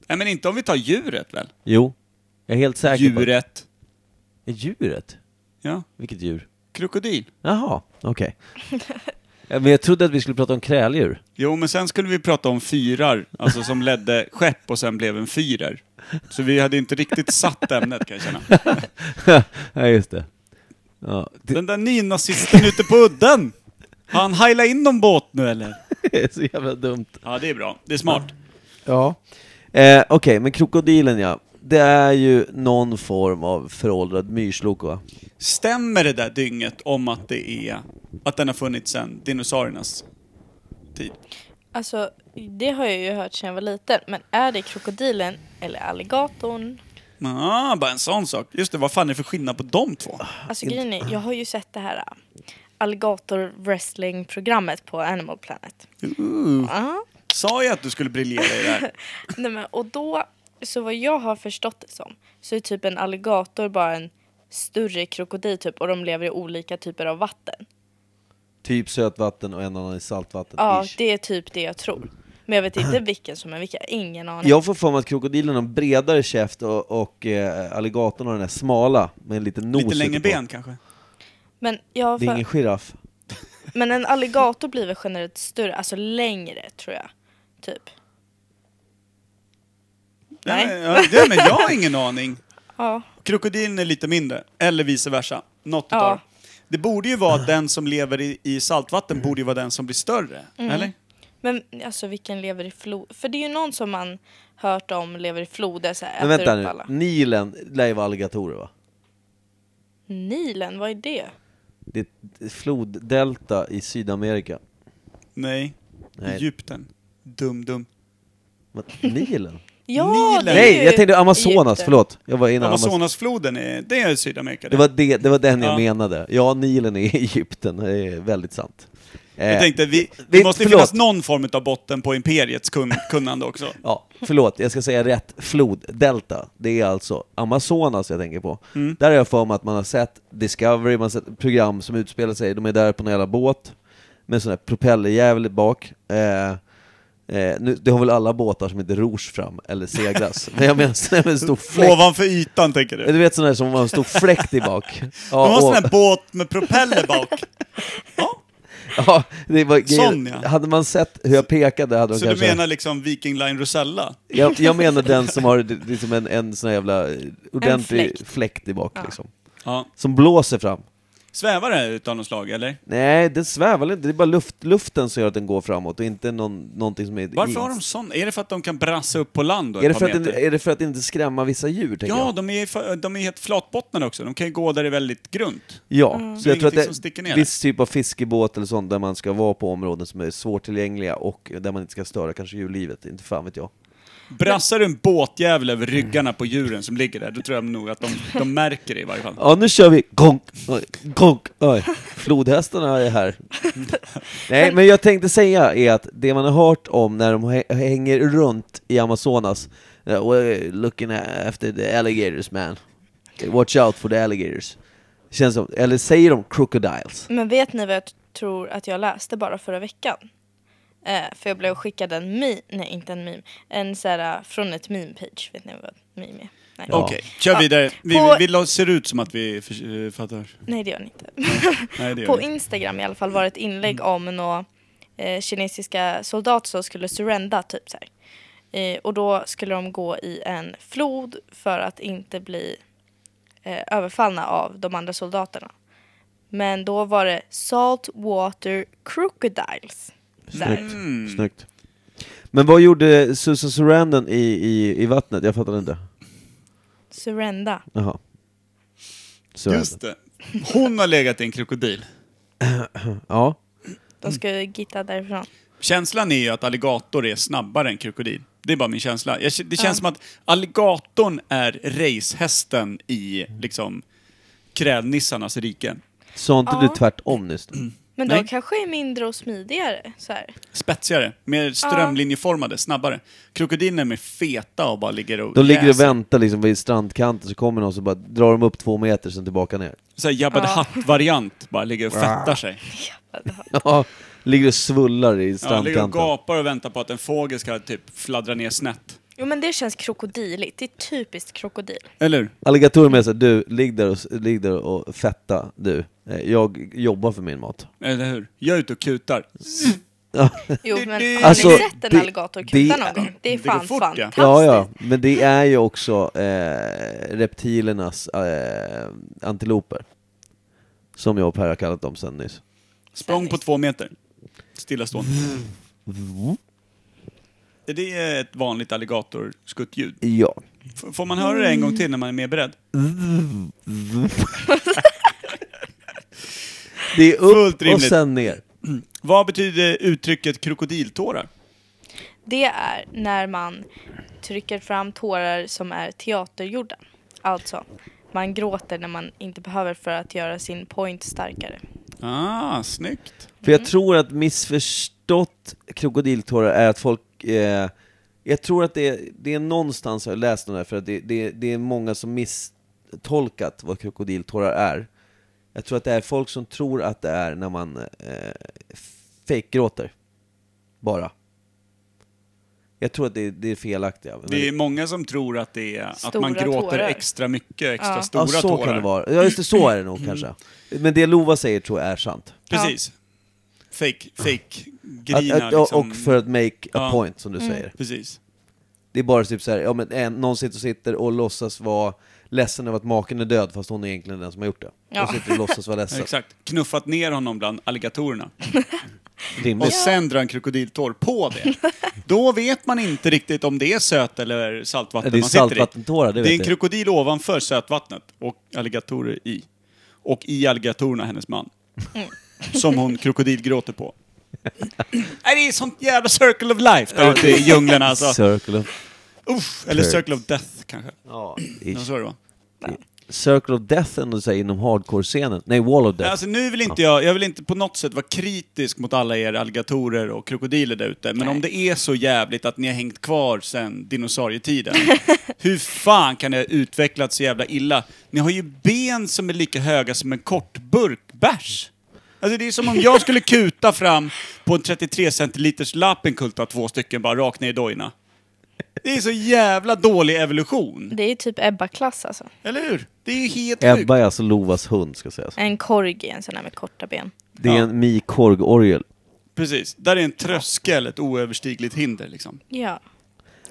[SPEAKER 5] Nej men inte om vi tar djuret väl?
[SPEAKER 2] Jo, jag är helt säker på det.
[SPEAKER 5] Djuret.
[SPEAKER 2] Är Djuret?
[SPEAKER 5] Ja.
[SPEAKER 2] Vilket djur?
[SPEAKER 5] Krokodil.
[SPEAKER 2] Jaha, okej. Ja, Men jag trodde att vi skulle prata om kräldjur. [laughs]
[SPEAKER 5] Jo, men sen skulle vi prata om fyrar, alltså som ledde skepp och sen blev en fyrer. Så vi hade inte riktigt satt ämnet kan jag känna.
[SPEAKER 2] ja, just det. Ja, det
[SPEAKER 5] Den där nynazisten ute på udden! Har han hajlat in någon båt nu eller?
[SPEAKER 2] är så jävla dumt.
[SPEAKER 5] Ja, det är bra. Det är smart.
[SPEAKER 2] Ja. Eh, okej, men krokodilen ja. Det är ju någon form av föråldrad myrslok va?
[SPEAKER 5] Stämmer det där dynget om att det är, att den har funnits sedan dinosauriernas tid?
[SPEAKER 8] Alltså, det har jag ju hört sedan jag var liten. Men är det krokodilen eller alligatorn?
[SPEAKER 5] Ah, bara en sån sak. Just det, vad fan är det för skillnad på de två?
[SPEAKER 8] Alltså grejen är, jag har ju sett det här äh, alligator-wrestling-programmet på Animal Planet. Ja.
[SPEAKER 5] Sa jag att du skulle briljera i det här?
[SPEAKER 8] Nej, men, och då, så vad jag har förstått det som, så är typ en alligator bara en större krokodil typ och de lever i olika typer av vatten.
[SPEAKER 2] Typ sötvatten och en annan i saltvatten.
[SPEAKER 8] Ja,
[SPEAKER 2] ish.
[SPEAKER 8] det är typ det jag tror. Men jag vet inte
[SPEAKER 2] [clears throat]
[SPEAKER 8] vilken som är vilken, ingen aning.
[SPEAKER 2] Jag får för mig att krokodilen har en bredare käft och, och eh, alligatorn har den där smala med en liten nos
[SPEAKER 5] Lite längre
[SPEAKER 2] ute på.
[SPEAKER 5] ben kanske?
[SPEAKER 8] Men, jag har
[SPEAKER 2] Det är ingen
[SPEAKER 8] för,
[SPEAKER 2] giraff.
[SPEAKER 8] men en alligator blir väl generellt större, alltså längre tror jag. Typ. Nej.
[SPEAKER 5] Nej. Ja, det, men jag har ingen aning.
[SPEAKER 8] Ja.
[SPEAKER 5] Krokodilen är lite mindre, eller vice versa. Något
[SPEAKER 8] Ja.
[SPEAKER 5] utav. Det borde ju vara att den som lever i, i saltvatten borde ju vara den som blir större,
[SPEAKER 8] Mm.
[SPEAKER 5] eller?
[SPEAKER 8] Men alltså vilken lever i flod? För det är ju någon som man hört om lever i floder så här,
[SPEAKER 2] Men
[SPEAKER 8] äter
[SPEAKER 2] vänta
[SPEAKER 8] upp
[SPEAKER 2] nu,
[SPEAKER 8] alla.
[SPEAKER 2] Nilen lär ju vara alligatorer va?
[SPEAKER 8] Nilen, vad är det?
[SPEAKER 2] Det är ett floddelta i Sydamerika.
[SPEAKER 5] Nej.
[SPEAKER 2] Nej.
[SPEAKER 5] Egypten. Dum-dum.
[SPEAKER 2] Vad- Nilen?
[SPEAKER 8] Ja, det är
[SPEAKER 2] Nej,
[SPEAKER 8] ju
[SPEAKER 2] jag tänkte Amazonas,
[SPEAKER 8] Egypten.
[SPEAKER 2] förlåt. Jag var inne Amazonas.
[SPEAKER 5] Amazonasfloden, är, det är Sydamerika.
[SPEAKER 2] Det var, det, det var den jag
[SPEAKER 5] Ja.
[SPEAKER 2] menade. Ja, Nilen är i Egypten, det är väldigt sant. Eh,
[SPEAKER 5] Jag tänkte, vi, det,
[SPEAKER 2] det-
[SPEAKER 5] måste ju
[SPEAKER 2] förlåt.
[SPEAKER 5] finnas någon form av botten på imperiets kun,
[SPEAKER 2] [laughs]
[SPEAKER 5] kunnande också.
[SPEAKER 2] Ja, förlåt, jag ska säga rätt. Floddelta, det är alltså Amazonas jag tänker på. Där har jag för mig att man har sett Discovery, man har sett program som utspelar sig, de är där på en jävla båt med en sån här propellerjävel bak. Eh, eh, nu, det har väl alla båtar som inte rors fram eller seglas, men jag menar en stor fläkt.
[SPEAKER 5] Ovanför ytan, tänker
[SPEAKER 2] Du
[SPEAKER 5] du?
[SPEAKER 2] vet sån där som har en stor fläkt i
[SPEAKER 5] [laughs]
[SPEAKER 2] bak.
[SPEAKER 5] De har
[SPEAKER 2] Ja,
[SPEAKER 5] sån
[SPEAKER 2] och,
[SPEAKER 5] här båt med propeller bak. Ja,
[SPEAKER 2] [laughs] ja, det var grejen.
[SPEAKER 5] Sån, ja.
[SPEAKER 2] Hade man sett hur jag pekade hade de
[SPEAKER 5] så
[SPEAKER 2] kanske...
[SPEAKER 5] du menar liksom Viking Line Rosella?
[SPEAKER 2] Jag, jag menar den som har d- liksom en, en sån här jävla eh, ordentlig
[SPEAKER 8] fläkt.
[SPEAKER 2] fläkt. i bak liksom.
[SPEAKER 5] Ja.
[SPEAKER 2] Som blåser fram.
[SPEAKER 5] Svävar det utav något slag, eller?
[SPEAKER 2] Nej, den svävar väl inte, det är bara luft, luften som gör att den går framåt och inte någon, någonting som är...
[SPEAKER 5] Varför har de sån? Är det för att de kan brassa upp på land då
[SPEAKER 2] är det,
[SPEAKER 5] ett
[SPEAKER 2] för
[SPEAKER 5] par
[SPEAKER 2] att den,
[SPEAKER 5] meter?
[SPEAKER 2] är det för att inte skrämma vissa djur, tänker
[SPEAKER 5] Ja,
[SPEAKER 2] jag?
[SPEAKER 5] de är, för- de är helt flatbottnade också. De kan ju gå där det är väldigt grunt.
[SPEAKER 2] Ja,
[SPEAKER 5] Det
[SPEAKER 2] så
[SPEAKER 5] är
[SPEAKER 2] jag tror att
[SPEAKER 5] ingenting
[SPEAKER 2] det
[SPEAKER 5] som sticker ner
[SPEAKER 2] är viss typ av fiskebåt eller sånt där man ska vara på områden som är svårtillgängliga och där man inte ska störa kanske djurlivet, inte fan vet jag.
[SPEAKER 5] Brassar du en båtjävel över ryggarna på djuren som ligger där, då tror jag nog att de, de märker det i varje fall.
[SPEAKER 2] Ja, nu kör vi! Gonk! Oj, Gonk! Oj. Flodhästarna är här. Nej, men jag tänkte säga är att det man har hört om när de hä- hänger runt i Amazonas, eh, "We're looking after the alligators man, watch out for the alligators. Känns som, eller säger de crocodiles?
[SPEAKER 8] Men vet ni vad jag t- tror att jag läste bara förra veckan? Eh, för jag blev skickad en meme, nej inte en meme, en så här eh, från ett meme-page. Vet ni vad meme är? Nej.
[SPEAKER 2] Ja.
[SPEAKER 5] Okej, kör vidare. Vi,
[SPEAKER 8] På-
[SPEAKER 5] vi, vi ser ut som att vi för, eh, fattar.
[SPEAKER 8] nej det gör ni inte.
[SPEAKER 5] Nej, det gör
[SPEAKER 8] På
[SPEAKER 5] vi.
[SPEAKER 8] Instagram i alla fall var det ett inlägg om några eh, kinesiska soldater som skulle surrenda typ så här. Eh, och då skulle de gå i en flod för att inte bli eh, överfallna av de andra soldaterna. Men då var det saltwater crocodiles. Där.
[SPEAKER 2] Snyggt. Snyggt. Men vad gjorde Susan Sarandon i, i, i vattnet? Jag fattade inte.
[SPEAKER 8] Surrenda.
[SPEAKER 2] Jaha. Sarandon.
[SPEAKER 5] Just det. Hon har legat i en krokodil.
[SPEAKER 2] Ja.
[SPEAKER 8] De ska ju gitta därifrån.
[SPEAKER 5] Känslan är ju att alligator är snabbare än krokodil. Det är bara min känsla. Jag, det känns som att alligatorn är racehästen i liksom krälnissarnas riken.
[SPEAKER 2] Sa inte du tvärtom nyss?
[SPEAKER 8] Men
[SPEAKER 5] Nej.
[SPEAKER 8] de kanske är mindre och smidigare. Så här.
[SPEAKER 5] Spetsigare, mer strömlinjeformade, snabbare. Krokodilerna är mer feta och bara ligger och
[SPEAKER 2] De ligger och
[SPEAKER 5] jäser.
[SPEAKER 2] väntar liksom vid strandkanten, så kommer någon så bara drar de upp två meter, sen tillbaka ner. [laughs]
[SPEAKER 5] Så här Jabba the Hutt-variant, bara ligger och fettar sig.
[SPEAKER 2] Ja, ligger och svullar i
[SPEAKER 5] Ja, ligger och
[SPEAKER 2] strandkanten.
[SPEAKER 5] gapar och väntar på att en fågel ska typ fladdra ner snett.
[SPEAKER 8] Jo men det känns krokodiligt. Det är typiskt krokodil.
[SPEAKER 5] Eller hur?
[SPEAKER 2] Alligatorer med sig, du, ligg där, och, s- ligg där och fetta, du. Eh, Jag jobbar för min mat.
[SPEAKER 5] Eller hur? Jag är ute och kutar.
[SPEAKER 8] Jo men har
[SPEAKER 2] Alltså,
[SPEAKER 8] ni sett en
[SPEAKER 2] det-
[SPEAKER 8] alligator kuta
[SPEAKER 2] det-
[SPEAKER 8] någon gång? Det är
[SPEAKER 5] det går
[SPEAKER 8] fan
[SPEAKER 5] fort, ja.
[SPEAKER 8] fantastiskt.
[SPEAKER 2] Ja, ja, men det är ju också eh, reptilernas eh, antiloper. Som jag och Per har kallat dem sen nyss.
[SPEAKER 5] Språng på två meter. Stillastående. Är det ett vanligt alligatorskuttljud?
[SPEAKER 2] Ja.
[SPEAKER 5] F- Får man höra det en gång till när man är mer beredd?
[SPEAKER 2] Det är upp
[SPEAKER 5] Fullt
[SPEAKER 2] och
[SPEAKER 5] rimligt.
[SPEAKER 2] sen ner.
[SPEAKER 5] Vad betyder uttrycket krokodiltårar?
[SPEAKER 8] Det är när man trycker fram tårar som är teatergjorda. Alltså, man gråter när man inte behöver för att göra sin point starkare.
[SPEAKER 5] Ah, snyggt.
[SPEAKER 2] För jag tror att missförstått krokodiltårar är att folk... Eh, jag tror att det är, det är någonstans har jag läst den här, för att det, det, det är många som misstolkat vad krokodiltårar är. Jag tror att det är folk som tror att det är när man eh, fejkgråter. Bara. Jag tror att det, det är felaktiga. Men-
[SPEAKER 5] Det är många som tror att det är att man
[SPEAKER 8] Stora
[SPEAKER 5] gråter
[SPEAKER 8] tårar.
[SPEAKER 5] extra mycket, extra
[SPEAKER 8] Ja.
[SPEAKER 5] stora
[SPEAKER 2] ja, så
[SPEAKER 5] tårar. Mm.
[SPEAKER 2] kan det vara. Ja, just det, så är det nog kanske. Men det Lova säger tror jag är sant.
[SPEAKER 5] Precis. Fake, fake
[SPEAKER 2] Att,
[SPEAKER 5] grina
[SPEAKER 2] att, ja,
[SPEAKER 5] liksom.
[SPEAKER 2] Och för att make a
[SPEAKER 5] Ja.
[SPEAKER 2] point, som du säger.
[SPEAKER 5] Precis.
[SPEAKER 2] Det är bara typ så här, ja men en, någon sitter och sitter och låtsas vara ledsen över att maken är död fast hon är egentligen den som har gjort det.
[SPEAKER 8] Ja.
[SPEAKER 2] Och sitter och låtsas vara ledsen.
[SPEAKER 5] Exakt. Knuffat ner honom bland alligatorerna. Och
[SPEAKER 2] Rimligt.
[SPEAKER 5] sen drar en krokodiltår på
[SPEAKER 2] [laughs]
[SPEAKER 5] det. Då vet man inte riktigt om det är söt eller saltvatten
[SPEAKER 2] Det är
[SPEAKER 5] man sitter i.
[SPEAKER 2] saltvattentårar, det
[SPEAKER 5] Det är
[SPEAKER 2] vet
[SPEAKER 5] en
[SPEAKER 2] jag.
[SPEAKER 5] krokodil ovanför sötvattnet och alligatorer i. och i alligatorerna hennes man. Som hon krokodilgråter på. Nej, det är sånt jävla circle of life där ute i djunglerna alltså.
[SPEAKER 2] Circle of...
[SPEAKER 5] Uff, eller circle of death kanske.
[SPEAKER 2] Ja,
[SPEAKER 5] Ja, så är det va?
[SPEAKER 2] Circle of Death ändå säger inom hardcore-scenen. Nej, Wall of Death.
[SPEAKER 5] Alltså nu vill inte jag, jag vill inte på något sätt vara kritisk mot alla er alligatorer och krokodiler där ute, men om det är så jävligt att ni har hängt kvar sedan dinosaurietiden, [laughs] hur fan kan ni ha utvecklats så jävla illa? Ni har ju ben som är lika höga som en kortburk bärs. Alltså det är som om jag skulle kuta fram på en 33 centiliters Lappenkulta två stycken bara rakt ner i dojorna. Det är så jävla dålig evolution,
[SPEAKER 8] Det är typ Ebba-klass alltså.
[SPEAKER 5] eller hur? Det är ju helt sjukt.
[SPEAKER 2] Ebba är alltså Lovas hund, ska sägas.
[SPEAKER 8] En korgi, en sån här med korta ben.
[SPEAKER 2] Det är
[SPEAKER 5] Ja.
[SPEAKER 2] en Mi Korg-orgel.
[SPEAKER 5] Precis, där är en tröskel, ett oöverstigligt hinder liksom.
[SPEAKER 8] Ja.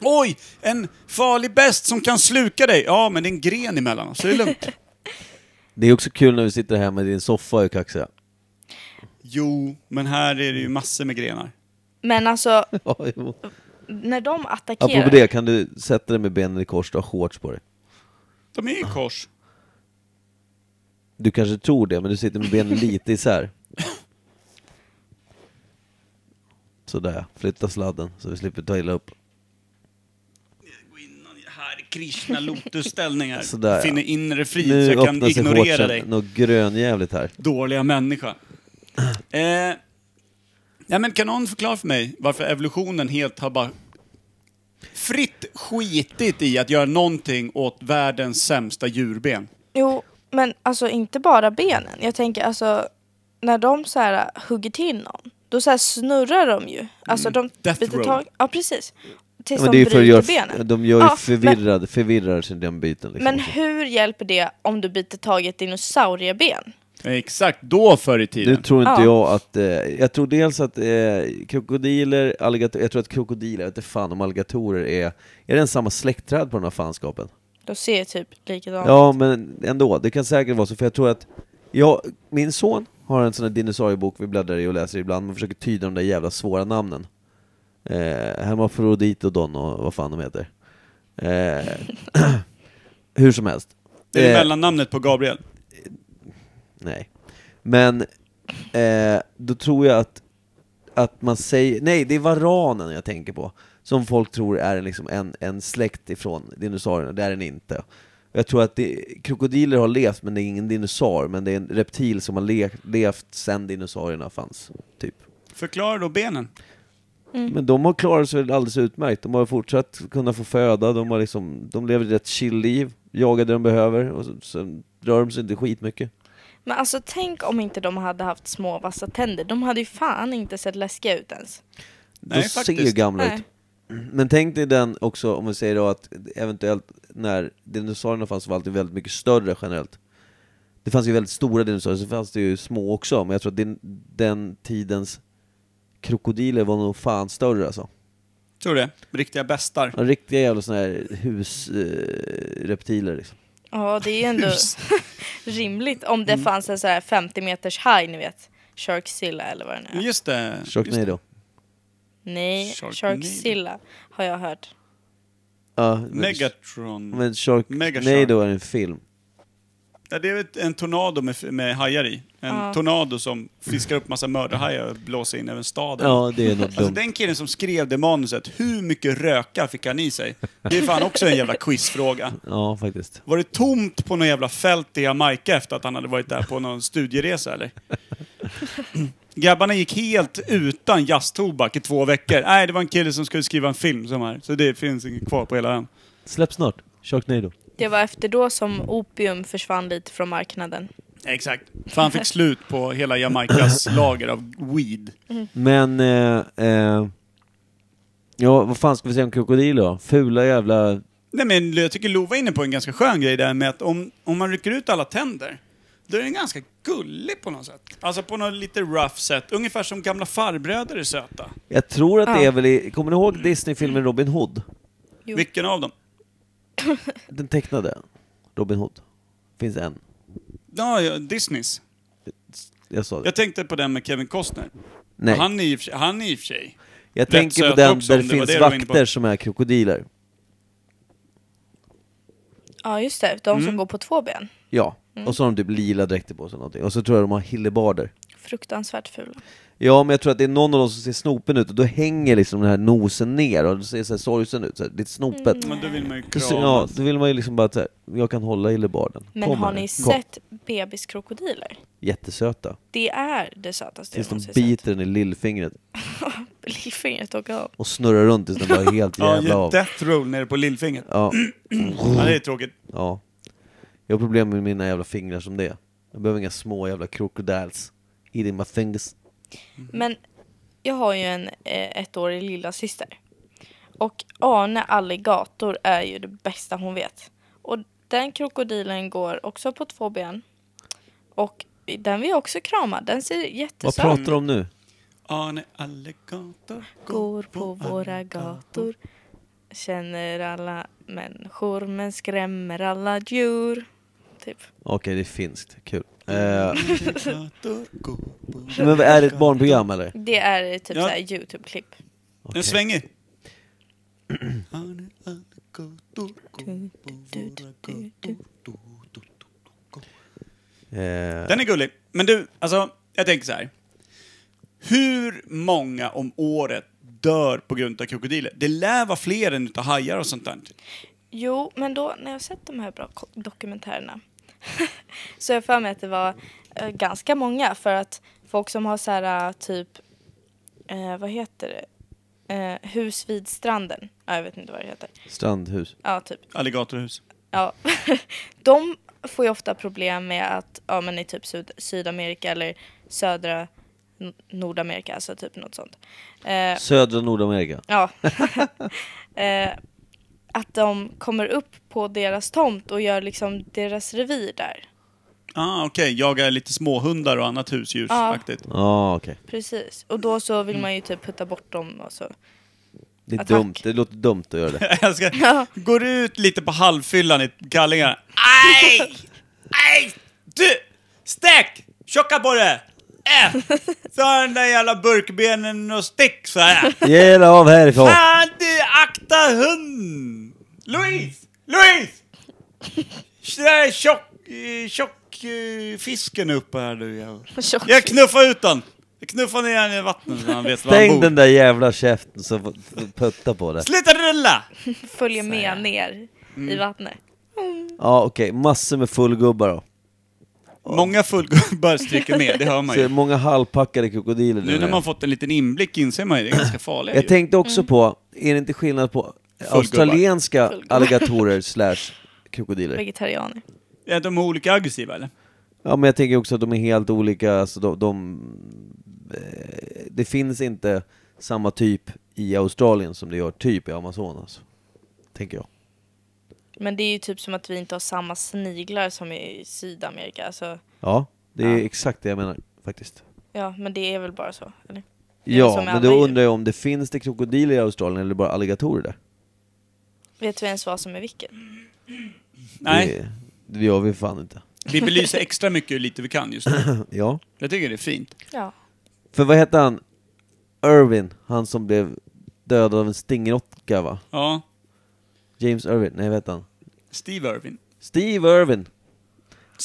[SPEAKER 5] Oj, en farlig best som kan sluka dig. Ja, men det är en gren emellan oss, så det är lugnt.
[SPEAKER 2] Det är också kul när vi sitter här med din soffa, är kaxiga.
[SPEAKER 5] Jo, men här är det ju massor med grenar.
[SPEAKER 8] Men alltså,
[SPEAKER 2] [laughs] Ja, jo.
[SPEAKER 8] när de
[SPEAKER 2] Apropå
[SPEAKER 8] attackerar...
[SPEAKER 2] det, kan du sätta dig med benen i kors och ha shorts på dig?
[SPEAKER 5] De är ju i kors.
[SPEAKER 2] Du kanske tror det, men du sitter med benen lite isär. Sådär, flytta sladden så vi slipper ta illa upp.
[SPEAKER 5] Gå in och- Här, Krishna
[SPEAKER 2] [laughs]
[SPEAKER 5] lotusställningar.
[SPEAKER 2] Sådär, ja.
[SPEAKER 5] Finner inre frid
[SPEAKER 2] Nu
[SPEAKER 5] så jag kan
[SPEAKER 2] öppnar sig
[SPEAKER 5] ignorera
[SPEAKER 2] shortsen
[SPEAKER 5] dig.
[SPEAKER 2] något grönjävligt här.
[SPEAKER 5] Dåliga människa. Eh, ja, men kan någon förklara för mig varför evolutionen helt har bara fritt skitit i att göra någonting åt världens sämsta djurben?
[SPEAKER 8] Jo, men alltså inte bara benen. Jag tänker alltså, när de så här äh, hugger till någon, då så här snurrar de ju. Alltså de
[SPEAKER 5] Mm, Death row.
[SPEAKER 8] Ja, precis. Tills
[SPEAKER 2] Ja, men det
[SPEAKER 8] de
[SPEAKER 2] är ju för att
[SPEAKER 8] bryter
[SPEAKER 2] göra,
[SPEAKER 8] benen.
[SPEAKER 2] de gör ju
[SPEAKER 8] Ja, men,
[SPEAKER 2] förvirrad, förvirrar sig den biten liksom.
[SPEAKER 8] men hur hjälper det om du biter tag i ett dinosaurieben?
[SPEAKER 5] Exakt då förr i
[SPEAKER 2] Nu
[SPEAKER 5] tiden.
[SPEAKER 2] tror inte
[SPEAKER 8] Ja.
[SPEAKER 2] jag att... Eh, jag tror dels att eh, krokodiler, alligatorer, jag tror att krokodiler, jag vet inte fan om alligatorer är... Är den samma släktträd på den här fanskapen?
[SPEAKER 8] De ser typ likadant
[SPEAKER 2] Ja, men ändå. Det kan säkert vara så, för jag tror att... Jag, min son har en sån här dinosauriebok vi bläddrar i och läser ibland, man försöker tyda de där jävla svåra namnen. Eh, Hermafroditodon och vad fan de heter. Eh, [clears throat] hur som helst.
[SPEAKER 5] Det är
[SPEAKER 2] Eh,
[SPEAKER 5] mellannamnet på Gabriel.
[SPEAKER 2] Nej. Men eh, då tror jag att, att man säger... Nej, det är varanen jag tänker på. Som folk tror är en liksom en, en släkt ifrån dinosaurierna. Det är den inte. Jag tror att det, krokodiler har levt, men det är ingen dinosaur. Men det är en reptil som har le, levt sedan dinosaurierna fanns, typ.
[SPEAKER 5] Förklara då benen.
[SPEAKER 2] Men de har klarat sig väl alldeles utmärkt. De har fortsatt kunna få föda, de, har liksom, de lever ett rätt chill liv, jagar det de behöver och så, sen rör de sig inte skitmycket.
[SPEAKER 8] Men alltså tänk om inte de hade haft små vassa tänder. De hade ju fan inte sett läskiga ut ens.
[SPEAKER 5] Nej,
[SPEAKER 2] de ser ju
[SPEAKER 5] faktiskt.
[SPEAKER 2] gamla
[SPEAKER 8] Nej.
[SPEAKER 2] ut. Men tänk dig den också, om vi säger då att eventuellt när dinosaurierna fanns var alltid väldigt mycket större generellt. Det fanns ju väldigt stora dinosaurier, så fanns det ju små också, men jag tror att den, den tidens krokodiler var nog fan större alltså.
[SPEAKER 5] Tror du det? Riktiga bästar.
[SPEAKER 2] De Riktiga jävla såna här husreptiler eh, reptiler, liksom.
[SPEAKER 8] Ja, det är ju ändå [laughs] rimligt om
[SPEAKER 5] Mm.
[SPEAKER 8] det fanns en så här 50 meters haj, ni vet. Sharkzilla eller vad det nu är.
[SPEAKER 5] Just det. Just det.
[SPEAKER 2] Sharknado.
[SPEAKER 8] Nej,
[SPEAKER 5] Sharknado.
[SPEAKER 8] Sharkzilla har jag hört.
[SPEAKER 2] Ja, men-
[SPEAKER 5] Megatron.
[SPEAKER 2] Men Sharknado
[SPEAKER 5] Megashark.
[SPEAKER 2] är en film.
[SPEAKER 5] Ja, det är ett- en tornado med, med hajar i. En tornado som fiskar upp massa mördarhajar och blåser in över staden.
[SPEAKER 2] Ja, det är något
[SPEAKER 5] Alltså
[SPEAKER 2] dumt.
[SPEAKER 5] den killen som skrev det manuset, hur mycket rökar fick han i sig? Det är fan också en jävla quizfråga.
[SPEAKER 2] Ja, faktiskt.
[SPEAKER 5] Var det tomt på något jävla fält i Jamaica efter att han hade varit där på någon studieresa eller? [clears throat] Grabbarna gick helt utan jazztobak i två veckor. Nej, det var en kille som skulle skriva en film som här. Så det finns inget kvar på hela ön.
[SPEAKER 2] Släpp snart. Sharknado.
[SPEAKER 8] Det var efter då som opium försvann lite från marknaden.
[SPEAKER 5] Exakt. För han fick slut på hela Jamaicas lager av weed.
[SPEAKER 2] Men... Eh, eh, ja, vad fan ska vi säga om krokodiler då? Fula jävla...
[SPEAKER 5] Nej men jag tycker Lova är inne på en ganska skön grej där med att om, om man rycker ut alla tänder, då är den ganska gullig på något sätt. Alltså på något lite rough sätt. Ungefär som gamla farbröder är söta.
[SPEAKER 2] Jag tror att det
[SPEAKER 8] Ja.
[SPEAKER 2] är väl i... Kommer ni ihåg Disney-filmen Robin Hood?
[SPEAKER 8] Jo.
[SPEAKER 5] Vilken av dem?
[SPEAKER 2] Den tecknade. Robin Hood. Finns en.
[SPEAKER 5] Ja, ja, Disneys.
[SPEAKER 2] Jag sa det.
[SPEAKER 5] Jag tänkte på den med Kevin Costner.
[SPEAKER 2] Nej.
[SPEAKER 5] Han är i och för sig- han är i och för sig...
[SPEAKER 2] jag
[SPEAKER 5] rätt
[SPEAKER 2] tänker
[SPEAKER 5] söt
[SPEAKER 2] på den
[SPEAKER 5] också,
[SPEAKER 2] där
[SPEAKER 5] om
[SPEAKER 2] det
[SPEAKER 5] det
[SPEAKER 2] finns
[SPEAKER 5] var det du var inne på.
[SPEAKER 2] vakter som är krokodiler. Mm.
[SPEAKER 8] Ja, just det. De som går på två ben.
[SPEAKER 2] Ja. Och så har de typ lila dräkter på sig eller någonting. Och så tror jag de har hillebarder.
[SPEAKER 8] Fruktansvärt fula.
[SPEAKER 2] Ja, men jag tror att det är någon av dem som ser snopen ut och då hänger liksom den här nosen ner och det ser så här sorgsen ut, så här, lite snopet.
[SPEAKER 5] Men då vill man ju
[SPEAKER 2] Då ser- Ja,
[SPEAKER 5] kramas.
[SPEAKER 2] då vill man ju liksom bara att så här, jag kan hålla hillebarden.
[SPEAKER 8] Men
[SPEAKER 2] Kom
[SPEAKER 8] har
[SPEAKER 2] här
[SPEAKER 8] ni
[SPEAKER 2] nu. Kom.
[SPEAKER 8] sett bebiskkrokodiler?
[SPEAKER 2] Jättesöta.
[SPEAKER 8] Det är det sötaste
[SPEAKER 2] Tills
[SPEAKER 8] jag
[SPEAKER 2] de
[SPEAKER 8] någonsin sett.
[SPEAKER 2] biter den i lillfingret
[SPEAKER 8] [laughs] Lillfingret och av.
[SPEAKER 2] och snurrar runt tills den bara är helt
[SPEAKER 5] [laughs] Ja,
[SPEAKER 2] jävla
[SPEAKER 5] ju
[SPEAKER 2] av. Mm.
[SPEAKER 5] death roll nere på lillfingret.
[SPEAKER 2] Ja,
[SPEAKER 5] Ja, det är tråkigt.
[SPEAKER 2] ja. Jag har problem med mina jävla fingrar som det är. Jag behöver inga små jävla crocodiles. Eating my fingers. Mm.
[SPEAKER 8] Men jag har ju en eh, ettårig lilla syster. Och Arne Alligator är ju det bästa hon vet. Och den krokodilen går också på två ben. Och den vill jag också krama. Den ser
[SPEAKER 2] Vad
[SPEAKER 8] jättesöt
[SPEAKER 2] pratar de om nu?
[SPEAKER 5] Arne Alligator
[SPEAKER 8] Går på våra gator. Känner alla människor men skrämmer alla djur. Typ.
[SPEAKER 2] Okej, det är finskt. Kul. Eh, [laughs]
[SPEAKER 5] gator. Går på.
[SPEAKER 2] men vad är det ett barnprogram eller?
[SPEAKER 8] Det är typ
[SPEAKER 5] Ja.
[SPEAKER 8] såhär Youtube-klipp.
[SPEAKER 5] Den svänger. Arne Alligator går på våra gator.
[SPEAKER 2] Eh,
[SPEAKER 5] Den är gullig. Men du, alltså, jag tänker så här. Hur många om året dör på grund av krokodiler? Det lär vara fler än utav hajar och sånt där.
[SPEAKER 8] Jo, men då när jag sett de här bra ko- dokumentärerna [laughs] så har jag för mig att det var eh, ganska många för att folk som har så här eh, typ, eh, vad heter det, eh, hus vid stranden, ja, jag vet inte vad det heter,
[SPEAKER 2] strandhus.
[SPEAKER 8] ja typ,
[SPEAKER 5] Alligatorhus.
[SPEAKER 8] ja, [laughs] de får ju ofta problem med att, ja men i typ Syd- Sydamerika eller södra N- Nordamerika, alltså typ något sånt. Eh,
[SPEAKER 2] Södra Nordamerika.
[SPEAKER 8] Ja. eh, att de kommer upp på deras tomt och gör liksom deras revir där.
[SPEAKER 5] Ah, okej. Jagar lite småhundar och annat husdjursaktigt.
[SPEAKER 2] Ja, okej.
[SPEAKER 8] Precis. Och då så vill man ju typ putta bort dem och så.
[SPEAKER 2] Det är
[SPEAKER 8] Attack.
[SPEAKER 2] dumt. Det låter dumt att göra det.
[SPEAKER 5] [laughs] Jag ska, Går ut lite på halvfyllan i kallingar. Aj! Aj! Du! Stek! Tjocka på det! Äh! Så har den där jävla burkbenen och stick så här.
[SPEAKER 2] Ge dig av härifrån!
[SPEAKER 8] [laughs]
[SPEAKER 5] Fan du, akta hund! Louise! Louise! Så där tjock, eh, tjock eh, fisken är uppe här nu. Jag,
[SPEAKER 8] Tjock.
[SPEAKER 5] jag knuffar ut den. Jag knuffar ner den i vattnet så han vet var han
[SPEAKER 2] Stäng
[SPEAKER 5] bor.
[SPEAKER 2] den där jävla käften så får- putta på det.
[SPEAKER 5] Sluta rulla!
[SPEAKER 8] Följer med ner i vattnet.
[SPEAKER 2] Ja okej, massor med fullgubbar då.
[SPEAKER 5] Många fullgubbar stryker med, det hör man
[SPEAKER 2] Så det är
[SPEAKER 5] ju.
[SPEAKER 2] många halvpackade krokodiler
[SPEAKER 5] Nu
[SPEAKER 2] där
[SPEAKER 5] när man
[SPEAKER 2] nere.
[SPEAKER 5] fått en liten inblick inser man ju, det är ganska farliga
[SPEAKER 2] Jag
[SPEAKER 5] djur.
[SPEAKER 2] tänkte också på, är det inte skillnad på australienska
[SPEAKER 5] [laughs]
[SPEAKER 8] Fullgubbar.
[SPEAKER 2] alligatorer slash krokodiler?
[SPEAKER 8] Vegetarianer.
[SPEAKER 5] Är de olika aggressiva eller?
[SPEAKER 2] Ja men jag tänker också att de är helt olika, alltså de, de eh, det finns inte samma typ i Australien som det gör typ i Amazonas. Tänker jag.
[SPEAKER 8] Men det är ju typ som att vi inte har samma sniglar som i Sydamerika. Alltså,
[SPEAKER 2] Ja, det är
[SPEAKER 8] Ja.
[SPEAKER 2] exakt det jag menar faktiskt.
[SPEAKER 8] ja, men det är väl bara så. Eller? Det är
[SPEAKER 2] Ja,
[SPEAKER 8] som med
[SPEAKER 2] men
[SPEAKER 8] alla
[SPEAKER 2] då
[SPEAKER 8] djur.
[SPEAKER 2] undrar jag om det finns det krokodiler i Australien eller bara alligatorer där?
[SPEAKER 8] Vet vi ens vad som är vilken?
[SPEAKER 5] Nej,
[SPEAKER 2] Det, det gör vi fan inte. [clears throat]
[SPEAKER 5] vi belyser extra mycket hur lite vi kan just nu.
[SPEAKER 2] Ja.
[SPEAKER 5] Jag tycker det är fint.
[SPEAKER 8] Ja.
[SPEAKER 2] För vad hette han? Irvin, han som blev dödad av en stingråtta va?
[SPEAKER 5] Ja,
[SPEAKER 2] James Irvin, nej vad hette han?
[SPEAKER 5] Steve Irwin.
[SPEAKER 2] Steve Irvin!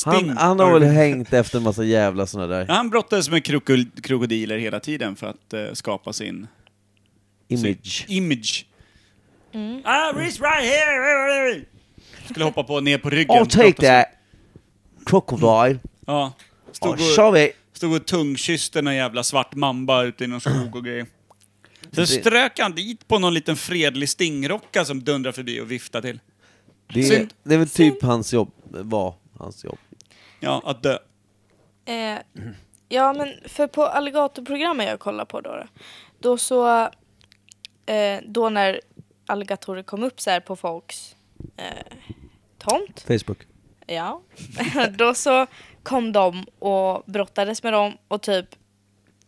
[SPEAKER 2] Han,
[SPEAKER 5] Sting
[SPEAKER 2] han har väl
[SPEAKER 5] Irwin.
[SPEAKER 2] hängt efter en massa jävla såna där
[SPEAKER 5] Han brottades med krokol- krokodiler hela tiden för att eh, skapa sin
[SPEAKER 2] image.
[SPEAKER 5] Sin image. Ah, Reese right here! Skulle hoppa på ner på ryggen.
[SPEAKER 2] I'll Oh, take
[SPEAKER 5] Brottas-
[SPEAKER 2] that! Crocodile!
[SPEAKER 5] Ja. Stod
[SPEAKER 2] Ja,
[SPEAKER 5] och,
[SPEAKER 2] kör vi!
[SPEAKER 5] stod och tungkysste någon jävla svart mamba ute i någon skog och grejer. Sen
[SPEAKER 2] Det-
[SPEAKER 5] strök han dit på någon liten fredlig stingrocka som dundrar förbi och viftar till.
[SPEAKER 2] Det är,
[SPEAKER 5] Synd.
[SPEAKER 2] det är väl typ hans jobb, var hans jobb.
[SPEAKER 5] Ja, att dö.
[SPEAKER 8] Eh, ja, men för på alligatorprogrammet jag kollar på då, då, då så, eh, då när alligatorer kom upp så här på folks eh, tomt,
[SPEAKER 2] Facebook.
[SPEAKER 8] ja, [laughs] då så kom de och brottades med dem och typ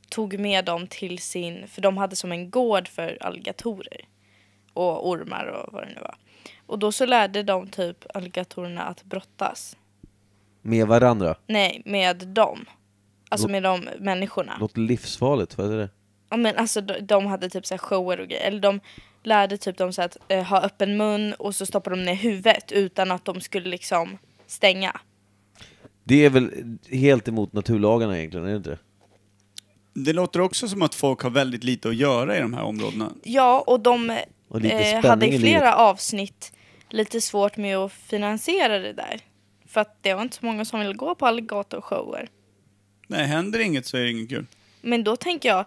[SPEAKER 8] tog med dem till sin, för de hade som en gård för alligatorer och ormar och vad det nu var. Och då så lärde de typ alligatorerna att brottas.
[SPEAKER 2] Med varandra.
[SPEAKER 8] Nej, med dem. Alltså med de människorna.
[SPEAKER 2] Låter livsfarligt, vad är det?
[SPEAKER 8] Ja men alltså de, de hade typ så här shower och grejer, eller de lärde typ dem så här att eh, ha öppen mun och så stoppade de ner huvudet utan att de skulle liksom stänga.
[SPEAKER 2] Det är väl helt emot naturlagarna egentligen, är det inte det?
[SPEAKER 5] Det låter också som att folk har väldigt lite att göra i de här områdena.
[SPEAKER 8] Ja, och de
[SPEAKER 2] Och lite
[SPEAKER 8] eh,
[SPEAKER 2] spänning
[SPEAKER 8] hade
[SPEAKER 2] i
[SPEAKER 8] i
[SPEAKER 2] livet.
[SPEAKER 8] flera avsnitt lite svårt med att finansiera det där. För att det var inte så många som ville gå på alligatorshower.
[SPEAKER 5] Nej, händer inget så är det inget kul.
[SPEAKER 8] Men då tänker jag,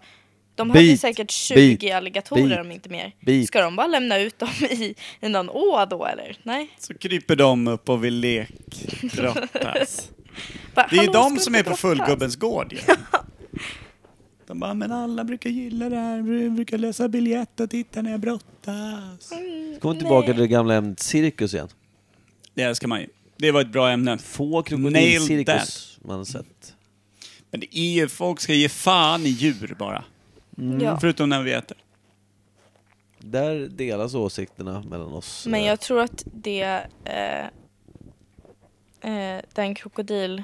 [SPEAKER 8] de hade
[SPEAKER 2] Bit,
[SPEAKER 8] säkert 20
[SPEAKER 2] bit,
[SPEAKER 8] alligatorer
[SPEAKER 2] bit,
[SPEAKER 8] om inte mer.
[SPEAKER 2] bit.
[SPEAKER 8] Ska de bara lämna ut dem [laughs] i, i någon å då eller? Nej.
[SPEAKER 5] Så kryper de upp och vill lekdrottas.
[SPEAKER 8] Bara,
[SPEAKER 5] Det är ju
[SPEAKER 8] "Hallå, ska
[SPEAKER 5] de
[SPEAKER 8] vi
[SPEAKER 5] som
[SPEAKER 8] inte
[SPEAKER 5] är på
[SPEAKER 8] droppa?"
[SPEAKER 5] fullgubbens gård ju. De bara, men alla brukar gilla det här, vi brukar läsa biljett och titta när jag brottas.
[SPEAKER 2] Kommer tillbaka till det gamla ämnet cirkus igen.
[SPEAKER 5] Det älskar man ju. Det var ett bra ämne.
[SPEAKER 2] Få
[SPEAKER 5] Nailed
[SPEAKER 2] krokodilcirkus man har sett.
[SPEAKER 5] Men det är ju, folk ska ge fan i djur bara.
[SPEAKER 8] [laughs] Ja.
[SPEAKER 5] Förutom när vi äter.
[SPEAKER 2] Där delas åsikterna mellan oss.
[SPEAKER 8] Men jag tror att det, eh, eh, den krokodil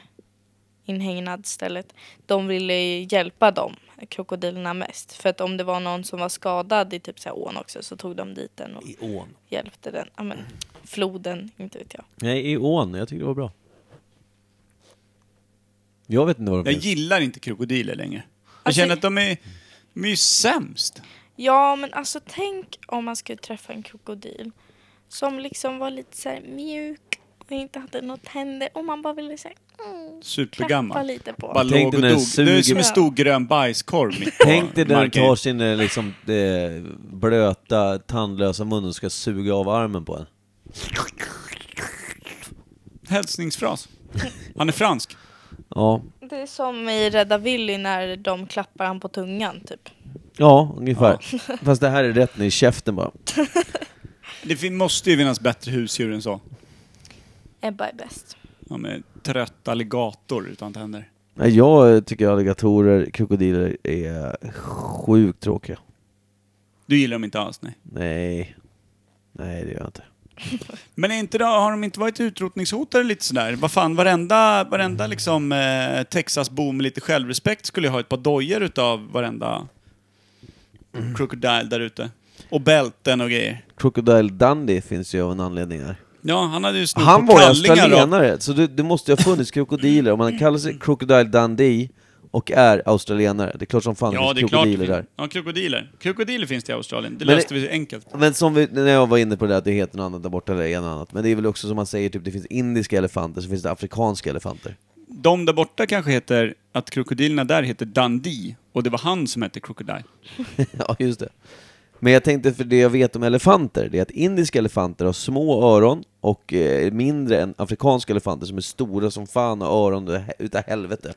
[SPEAKER 8] inhägnad stället, de ville ju hjälpa dem, krokodilerna mest. För att om det var någon som var skadad i typ så här ån också så tog de dit den och
[SPEAKER 2] I ån.
[SPEAKER 8] hjälpte den. Ja, men, floden, inte vet jag.
[SPEAKER 2] Nej, i ån. Jag tycker det var bra. Jag vet inte vad de
[SPEAKER 5] Jag
[SPEAKER 2] är.
[SPEAKER 5] gillar inte krokodiler längre. Jag
[SPEAKER 8] Alltså-
[SPEAKER 5] känner att de är, de är ju sämst.
[SPEAKER 8] Ja, men alltså tänk om man skulle träffa en krokodil som liksom var lite så här mjuk och inte hade något tänder och man bara ville så här, mm, klappa
[SPEAKER 5] Supergammal.
[SPEAKER 8] lite på.
[SPEAKER 5] Bara
[SPEAKER 2] Tänk
[SPEAKER 5] låg och
[SPEAKER 2] dig när den
[SPEAKER 5] dog. Du är som
[SPEAKER 2] suger-
[SPEAKER 5] en stor grön bajskorv [laughs] mitt på
[SPEAKER 2] Tänk dig när den
[SPEAKER 5] marken.
[SPEAKER 2] tar sin eh, liksom, eh, blöta, tandlösa mun och ska suga av armen på en.
[SPEAKER 5] Hälsningsfras. Han är fransk.
[SPEAKER 2] Ja,
[SPEAKER 8] Det är som i Rädda Willy när de klappar han på tungan typ.
[SPEAKER 2] ja ungefär. Fast det här är rätt ner i käften bara.
[SPEAKER 5] Det fin- måste ju finnas bättre husdjur än så.
[SPEAKER 8] Ebba är bäst.
[SPEAKER 5] De är trött alligator utan tänder.
[SPEAKER 2] Nej, jag eh, tycker alligatorer, krokodiler är sjukt tråkiga.
[SPEAKER 5] Du gillar dem inte alls, nej.
[SPEAKER 2] Nej. Nej, det gör jag inte.
[SPEAKER 5] Men är inte då, har de inte varit utrotningshotade lite sådär? Vad fan, varenda, varenda liksom, eh, Texasbo med lite självrespekt skulle ju ha ett par dojor utav varenda crocodile där ute. Och bälten och grejer.
[SPEAKER 2] Crocodile Dundee finns ju av en anledning här.
[SPEAKER 5] Ja, han hade ju snott
[SPEAKER 2] Han
[SPEAKER 5] på
[SPEAKER 2] var ju
[SPEAKER 5] kallingar och-
[SPEAKER 2] australienare, så det, det måste ju ha funnits krokodiler. Om han kallar sig Crocodile Dundee och är australienare, det är klart som fan
[SPEAKER 5] Ja, det är
[SPEAKER 2] finns
[SPEAKER 5] klart.
[SPEAKER 2] krokodiler där.
[SPEAKER 5] Ja, krokodiler. Krokodiler finns det i Australien. Det
[SPEAKER 2] Men
[SPEAKER 5] löste
[SPEAKER 2] det-
[SPEAKER 5] vi enkelt.
[SPEAKER 2] Men som vi, när jag var inne på det där att det heter något annat där borta, eller en och annat. Men det är väl också som man säger, typ det finns indiska elefanter, så finns det afrikanska elefanter.
[SPEAKER 5] De där borta kanske heter, att krokodilerna där heter Dundee. Och det var han som hette Crocodile.
[SPEAKER 2] [laughs] ja, just det. Men jag tänkte, för det jag vet om elefanter, det är att indiska elefanter har små öron och eh, mindre än afrikanska elefanter som är stora som fan och öron ut- utav helvete.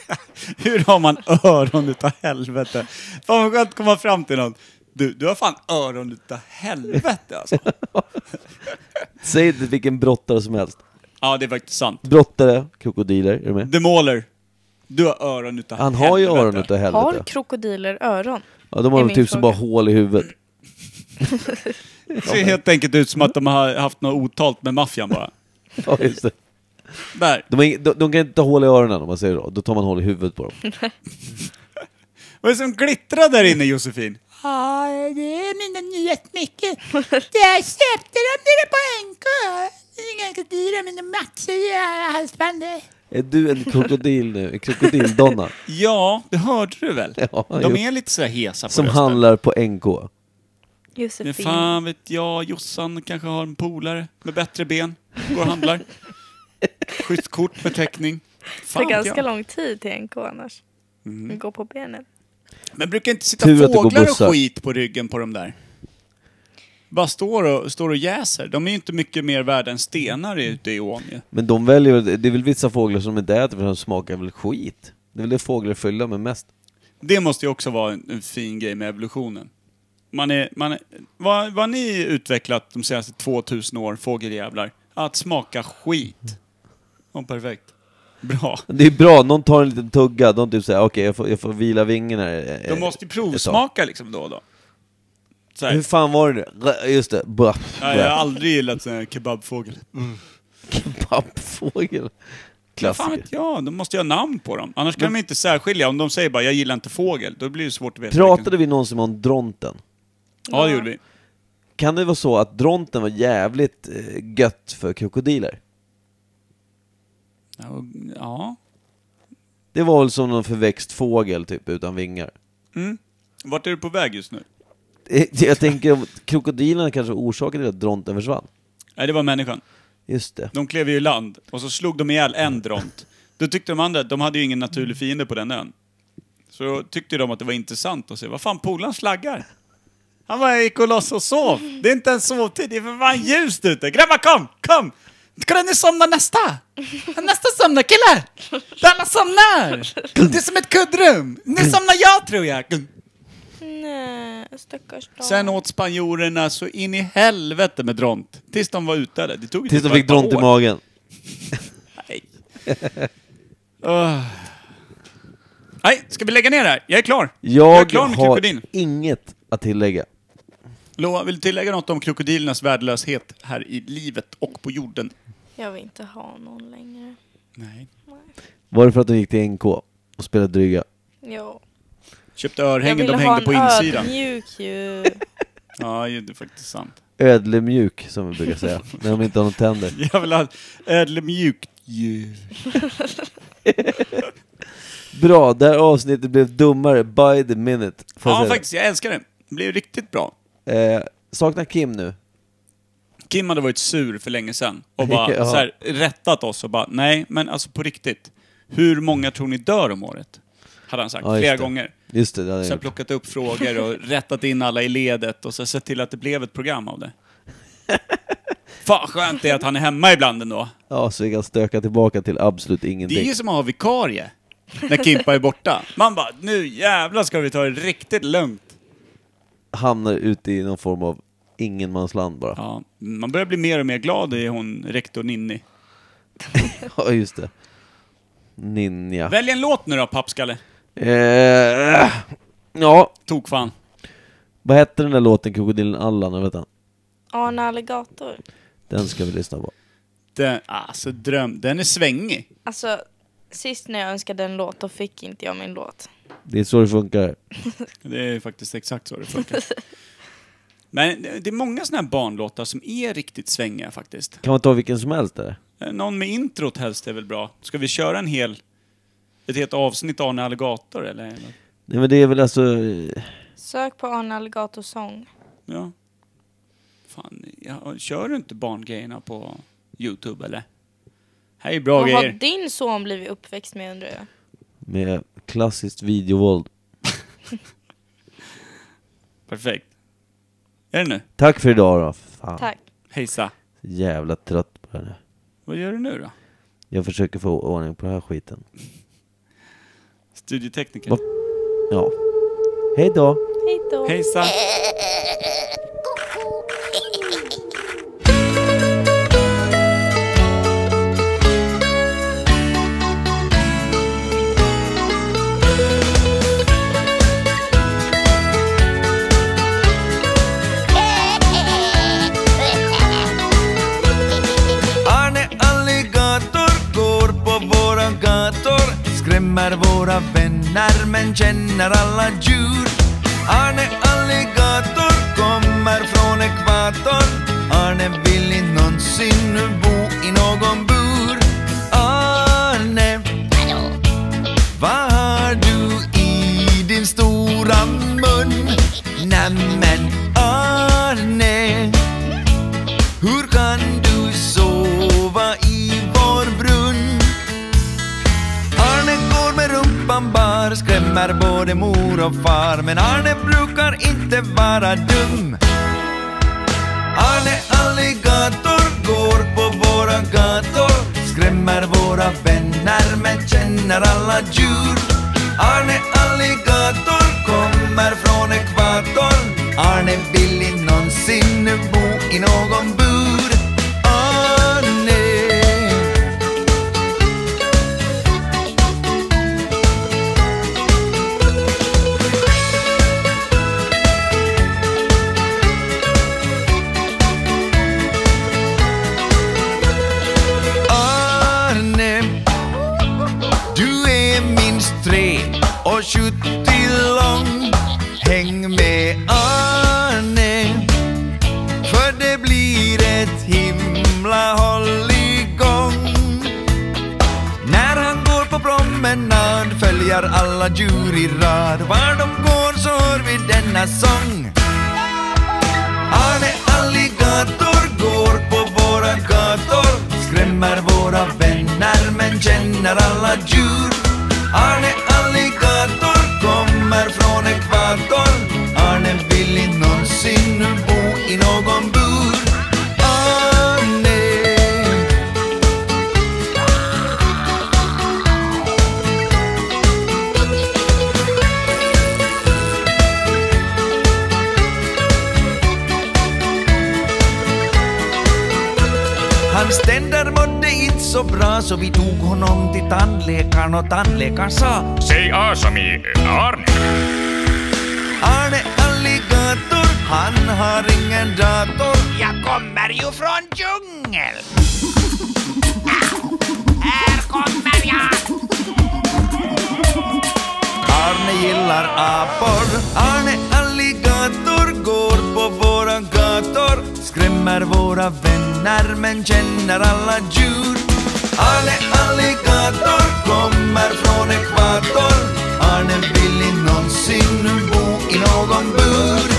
[SPEAKER 5] [laughs] Hur har man öron utav helvete? Fan vad skönt att komma fram till någon. Du, du har fan öron utav helvete alltså.
[SPEAKER 2] Säg inte vilken brottare som helst.
[SPEAKER 5] Ja, det är faktiskt sant.
[SPEAKER 2] Brottare, krokodiler, är du med?
[SPEAKER 5] The Mauler. Du har öron utav
[SPEAKER 2] Han
[SPEAKER 5] helvete.
[SPEAKER 2] har ju öron utav
[SPEAKER 8] Har
[SPEAKER 2] helvete.
[SPEAKER 8] krokodiler öron?
[SPEAKER 2] Ja, de har
[SPEAKER 8] är
[SPEAKER 2] väl
[SPEAKER 8] min
[SPEAKER 2] typ som bara
[SPEAKER 8] fråga.
[SPEAKER 2] hål i huvudet.
[SPEAKER 5] Det ser helt enkelt ut som att de har haft något otalt med maffian bara.
[SPEAKER 2] Ja, just det.
[SPEAKER 5] Där.
[SPEAKER 2] De, har ing- de, de kan inte ta hål i öronen om man säger så. Då tar man hål i huvudet på dem.
[SPEAKER 5] Vad är det som glittrar där inne Josefin?
[SPEAKER 9] Ja, det är mina nya smycken. [laughs] Jag köpte dem nere på NK. De är ganska dyra, men de matchar ju alla halsbandet.
[SPEAKER 2] Är du en krokodil nu? En krokodildonna?
[SPEAKER 5] Ja, det hörde du väl?
[SPEAKER 2] Ja,
[SPEAKER 5] de
[SPEAKER 2] jo.
[SPEAKER 5] är lite sådär hesa på
[SPEAKER 2] Som
[SPEAKER 5] rösten.
[SPEAKER 2] handlar på NK.
[SPEAKER 5] Men
[SPEAKER 8] Josefin.
[SPEAKER 5] fan vet jag, Jossan kanske har en polare med bättre ben. Går och handlar. Schysst kort med teckning.
[SPEAKER 8] Det
[SPEAKER 5] Fan
[SPEAKER 8] tar
[SPEAKER 5] vet
[SPEAKER 8] ganska
[SPEAKER 5] jag.
[SPEAKER 8] lång tid till NK annars. Mm. Gå på benen.
[SPEAKER 5] Men brukar inte sitta
[SPEAKER 2] Tur att det går
[SPEAKER 5] fåglar
[SPEAKER 2] bussar.
[SPEAKER 5] och skit på ryggen på de där? Bara står och, står och jäser. De är ju inte mycket mer värda än stenar ute i ån ju.
[SPEAKER 2] Men de väljer, det är väl vissa fåglar som inte äter för de smakar väl skit? Det är väl det fåglar är fyllda med mest?
[SPEAKER 5] Det måste ju också vara en, en fin grej med evolutionen. Man är, man är, vad, vad har ni utvecklat de senaste 2000 år, fågeljävlar? Att smaka skit. Ja, perfekt. Bra.
[SPEAKER 2] Det är bra, någon tar en liten tugga, de typ säger okej jag, får, jag får vila vingen här. eh,
[SPEAKER 5] De måste ju
[SPEAKER 2] ett
[SPEAKER 5] provsmaka liksom då och då. Så
[SPEAKER 2] tag.
[SPEAKER 5] här.
[SPEAKER 2] Hur fan var det nu? Just det, bra.
[SPEAKER 5] Ja, jag har aldrig gillat sån här kebabfågel.
[SPEAKER 2] Pappfågel.
[SPEAKER 5] Fan
[SPEAKER 2] Klassiker.
[SPEAKER 5] vet jag, de måste ju ha namn på dem. Annars kan de inte särskilja. Om de säger bara “jag gillar inte fågel”, då blir det svårt att veta.
[SPEAKER 2] Pratade vi någonsin om dronten?
[SPEAKER 5] vilken- Ja, det gjorde vi.
[SPEAKER 2] Kan det vara så att dronten var jävligt eh, gött för krokodiler?
[SPEAKER 5] Och, Ja.
[SPEAKER 2] Det var väl som någon förväxt fågel typ, utan vingar.
[SPEAKER 5] Mm. Vart är du på väg just nu?
[SPEAKER 2] Eh, Jag tänker om krokodilerna kanske orsakade det att dronten försvann.
[SPEAKER 5] Nej, det var människan.
[SPEAKER 2] Just det.
[SPEAKER 5] De klev ju i land och så slog de ihjäl en dront. Då tyckte de andra att de hade ju ingen naturlig fiende på den ön. Så då tyckte de att det var intressant att se, vad fan polaren slaggar. Han var gick och la sig och sov. Det är inte ens sovtid, det är för fan ljust ute. Grabbar kom, kom! Kolla nu somnar nästa! Nästa somnar killar! Alla somnar! Det är som ett kuddrum! Nu somnar jag tror jag!
[SPEAKER 8] Nej, stackars dam.
[SPEAKER 5] Sen åt spanjorerna så in i helvete med dront. Tills de var utdöda. Det tog ju typ
[SPEAKER 2] Tills de
[SPEAKER 5] bara
[SPEAKER 2] fick
[SPEAKER 5] ett par
[SPEAKER 2] dront i
[SPEAKER 5] år.
[SPEAKER 2] magen.
[SPEAKER 5] Nej. Öh. Nej, ska vi lägga ner det här? Jag är klar. jag är
[SPEAKER 2] Jag
[SPEAKER 5] klar med
[SPEAKER 2] har
[SPEAKER 5] krokodil.
[SPEAKER 2] inget att tillägga.
[SPEAKER 5] Loa, vill du tillägga något om krokodilernas värdelöshet här i livet och på jorden?
[SPEAKER 8] Jag vill inte ha någon längre.
[SPEAKER 5] Nej.
[SPEAKER 2] Var det för att de gick till NK och spelade dryga?
[SPEAKER 8] Jo.
[SPEAKER 5] Köpte
[SPEAKER 8] Jag
[SPEAKER 5] örhängen
[SPEAKER 8] ville
[SPEAKER 5] de
[SPEAKER 8] ha
[SPEAKER 5] hängde
[SPEAKER 8] en
[SPEAKER 5] på insidan.
[SPEAKER 8] ödmjuk ju. [laughs]
[SPEAKER 5] Ja, ju, det är faktiskt sant.
[SPEAKER 2] Ödlemjuk, som vi brukar
[SPEAKER 5] [laughs]
[SPEAKER 2] säga, när de inte har någon tänder.
[SPEAKER 5] Jag vill ha ödlemjukt djur.
[SPEAKER 2] Bra, det här avsnittet blev dummare by the minute. Får jag
[SPEAKER 5] Ja,
[SPEAKER 2] säga det?
[SPEAKER 5] faktiskt. Jag älskar det. Det blev riktigt bra.
[SPEAKER 2] Eh, saknar Kim nu.
[SPEAKER 5] Kim hade varit sur för länge sedan och bara
[SPEAKER 2] [laughs] Ja.
[SPEAKER 5] så här, rättat oss och bara nej, men alltså på riktigt. Hur många tror ni dör om året? Hade han sagt
[SPEAKER 2] Ja, just
[SPEAKER 5] flera
[SPEAKER 2] det.
[SPEAKER 5] gånger.
[SPEAKER 2] Just det, det hade
[SPEAKER 5] Så
[SPEAKER 2] jag
[SPEAKER 5] jag har
[SPEAKER 2] gjort.
[SPEAKER 5] plockat upp frågor och rättat in alla i ledet och så sett till att det blev ett program av det. Fan skönt det är att han är hemma ibland ändå.
[SPEAKER 2] Ja, så vi kan stöka tillbaka till absolut
[SPEAKER 5] Det är
[SPEAKER 2] ingenting.
[SPEAKER 5] ju som att ha vikarie. När Kimpa är borta. Man bara, nu jävlar ska vi ta det riktigt lugnt.
[SPEAKER 2] Hamnar ute i någon form av ingenmansland bara.
[SPEAKER 5] Ja, man börjar bli mer och mer glad i hon rektor Ninni.
[SPEAKER 2] [laughs] Ja, just det. Ninja.
[SPEAKER 5] Välj en låt nu då, pappskalle.
[SPEAKER 2] Eh, ja,
[SPEAKER 5] Tok fan.
[SPEAKER 2] vad hette den där låten, Krokodilen Allan, jag vet inte.
[SPEAKER 8] Arne Alligator.
[SPEAKER 2] Den ska vi lyssna på.
[SPEAKER 5] Den, alltså dröm, den är svängig.
[SPEAKER 8] Alltså, sist när jag önskade en låt då fick inte jag min låt.
[SPEAKER 2] Det är så det funkar.
[SPEAKER 5] Det är faktiskt exakt så det funkar. Men det är många såna här barnlåtar som är riktigt svängiga faktiskt.
[SPEAKER 2] Kan man ta vilken som helst där?
[SPEAKER 5] Någon med introt helst är väl bra. Ska vi köra en hel... Ett helt avsnitt Arne Alligator eller?
[SPEAKER 2] Nej men det är väl alltså... eh,
[SPEAKER 8] Sök på Arne Alligator sång.
[SPEAKER 5] Ja. Fan, ja, kör du inte barngrejerna på YouTube eller? Här är bra
[SPEAKER 8] Vad har
[SPEAKER 5] grejer.
[SPEAKER 8] din son blivit uppväxt med undrar jag?
[SPEAKER 2] Med klassiskt videovåld.
[SPEAKER 5] Perfekt. Är det nu?
[SPEAKER 2] Tack för idag då. Fan,
[SPEAKER 8] Tack.
[SPEAKER 5] Hejsa.
[SPEAKER 2] jävla trött på det här nu.
[SPEAKER 5] Vad gör du nu då?
[SPEAKER 2] Jag försöker få ordning på den här skiten.
[SPEAKER 5] Studietekniker.
[SPEAKER 2] Vad- Ja. Hej då!
[SPEAKER 8] Hej då.
[SPEAKER 5] Hejsa.
[SPEAKER 10] Arne Alligator går på våra gator Skrämmer våra vänner men känner alla djur Arne Alligator kommer från ekvator Arne vill inte någonsin nu bo i någon bur Arne, vad har du i din stora mun? Nämen Arne hur kan du sova i vår brunn? Arne går med rumpan bar, skrämmer både mor och far Men Arne brukar inte vara dum Arne Alligator går på våra gator Skrämmer våra vänner men känner alla djur Arne Alligator kommer från ekvator Arne vill inte någonsin bo i någon bur Arne Arne Du är minst tre och 70 lång Häng med Arne För det blir ett himla hålligång hoppar alla djur i rad. Var de går så hör vi denna sång. Arne Alligator går på våra gator. Skrämmer våra vänner men känner alla djur. Arne Alligator kommer från ekvator. Arne vill inte någonsin nu bo i någon bur. Arne Hans tänder mådde inte så bra så vi tog honom till tandläkaren och tandläkaren sa
[SPEAKER 11] Säg A som i Arne.
[SPEAKER 10] Arne Alligator, han har ingen dator. Jag kommer ju från djungel.
[SPEAKER 9] Här kommer jag!
[SPEAKER 10] Arne gillar apor. Arne Alligator går på våra gator. Skrämmer våra vänner men känner alla djur. Arne Alligator kommer från ekvator. Arne vill inte någonsin nu bo i någon bur.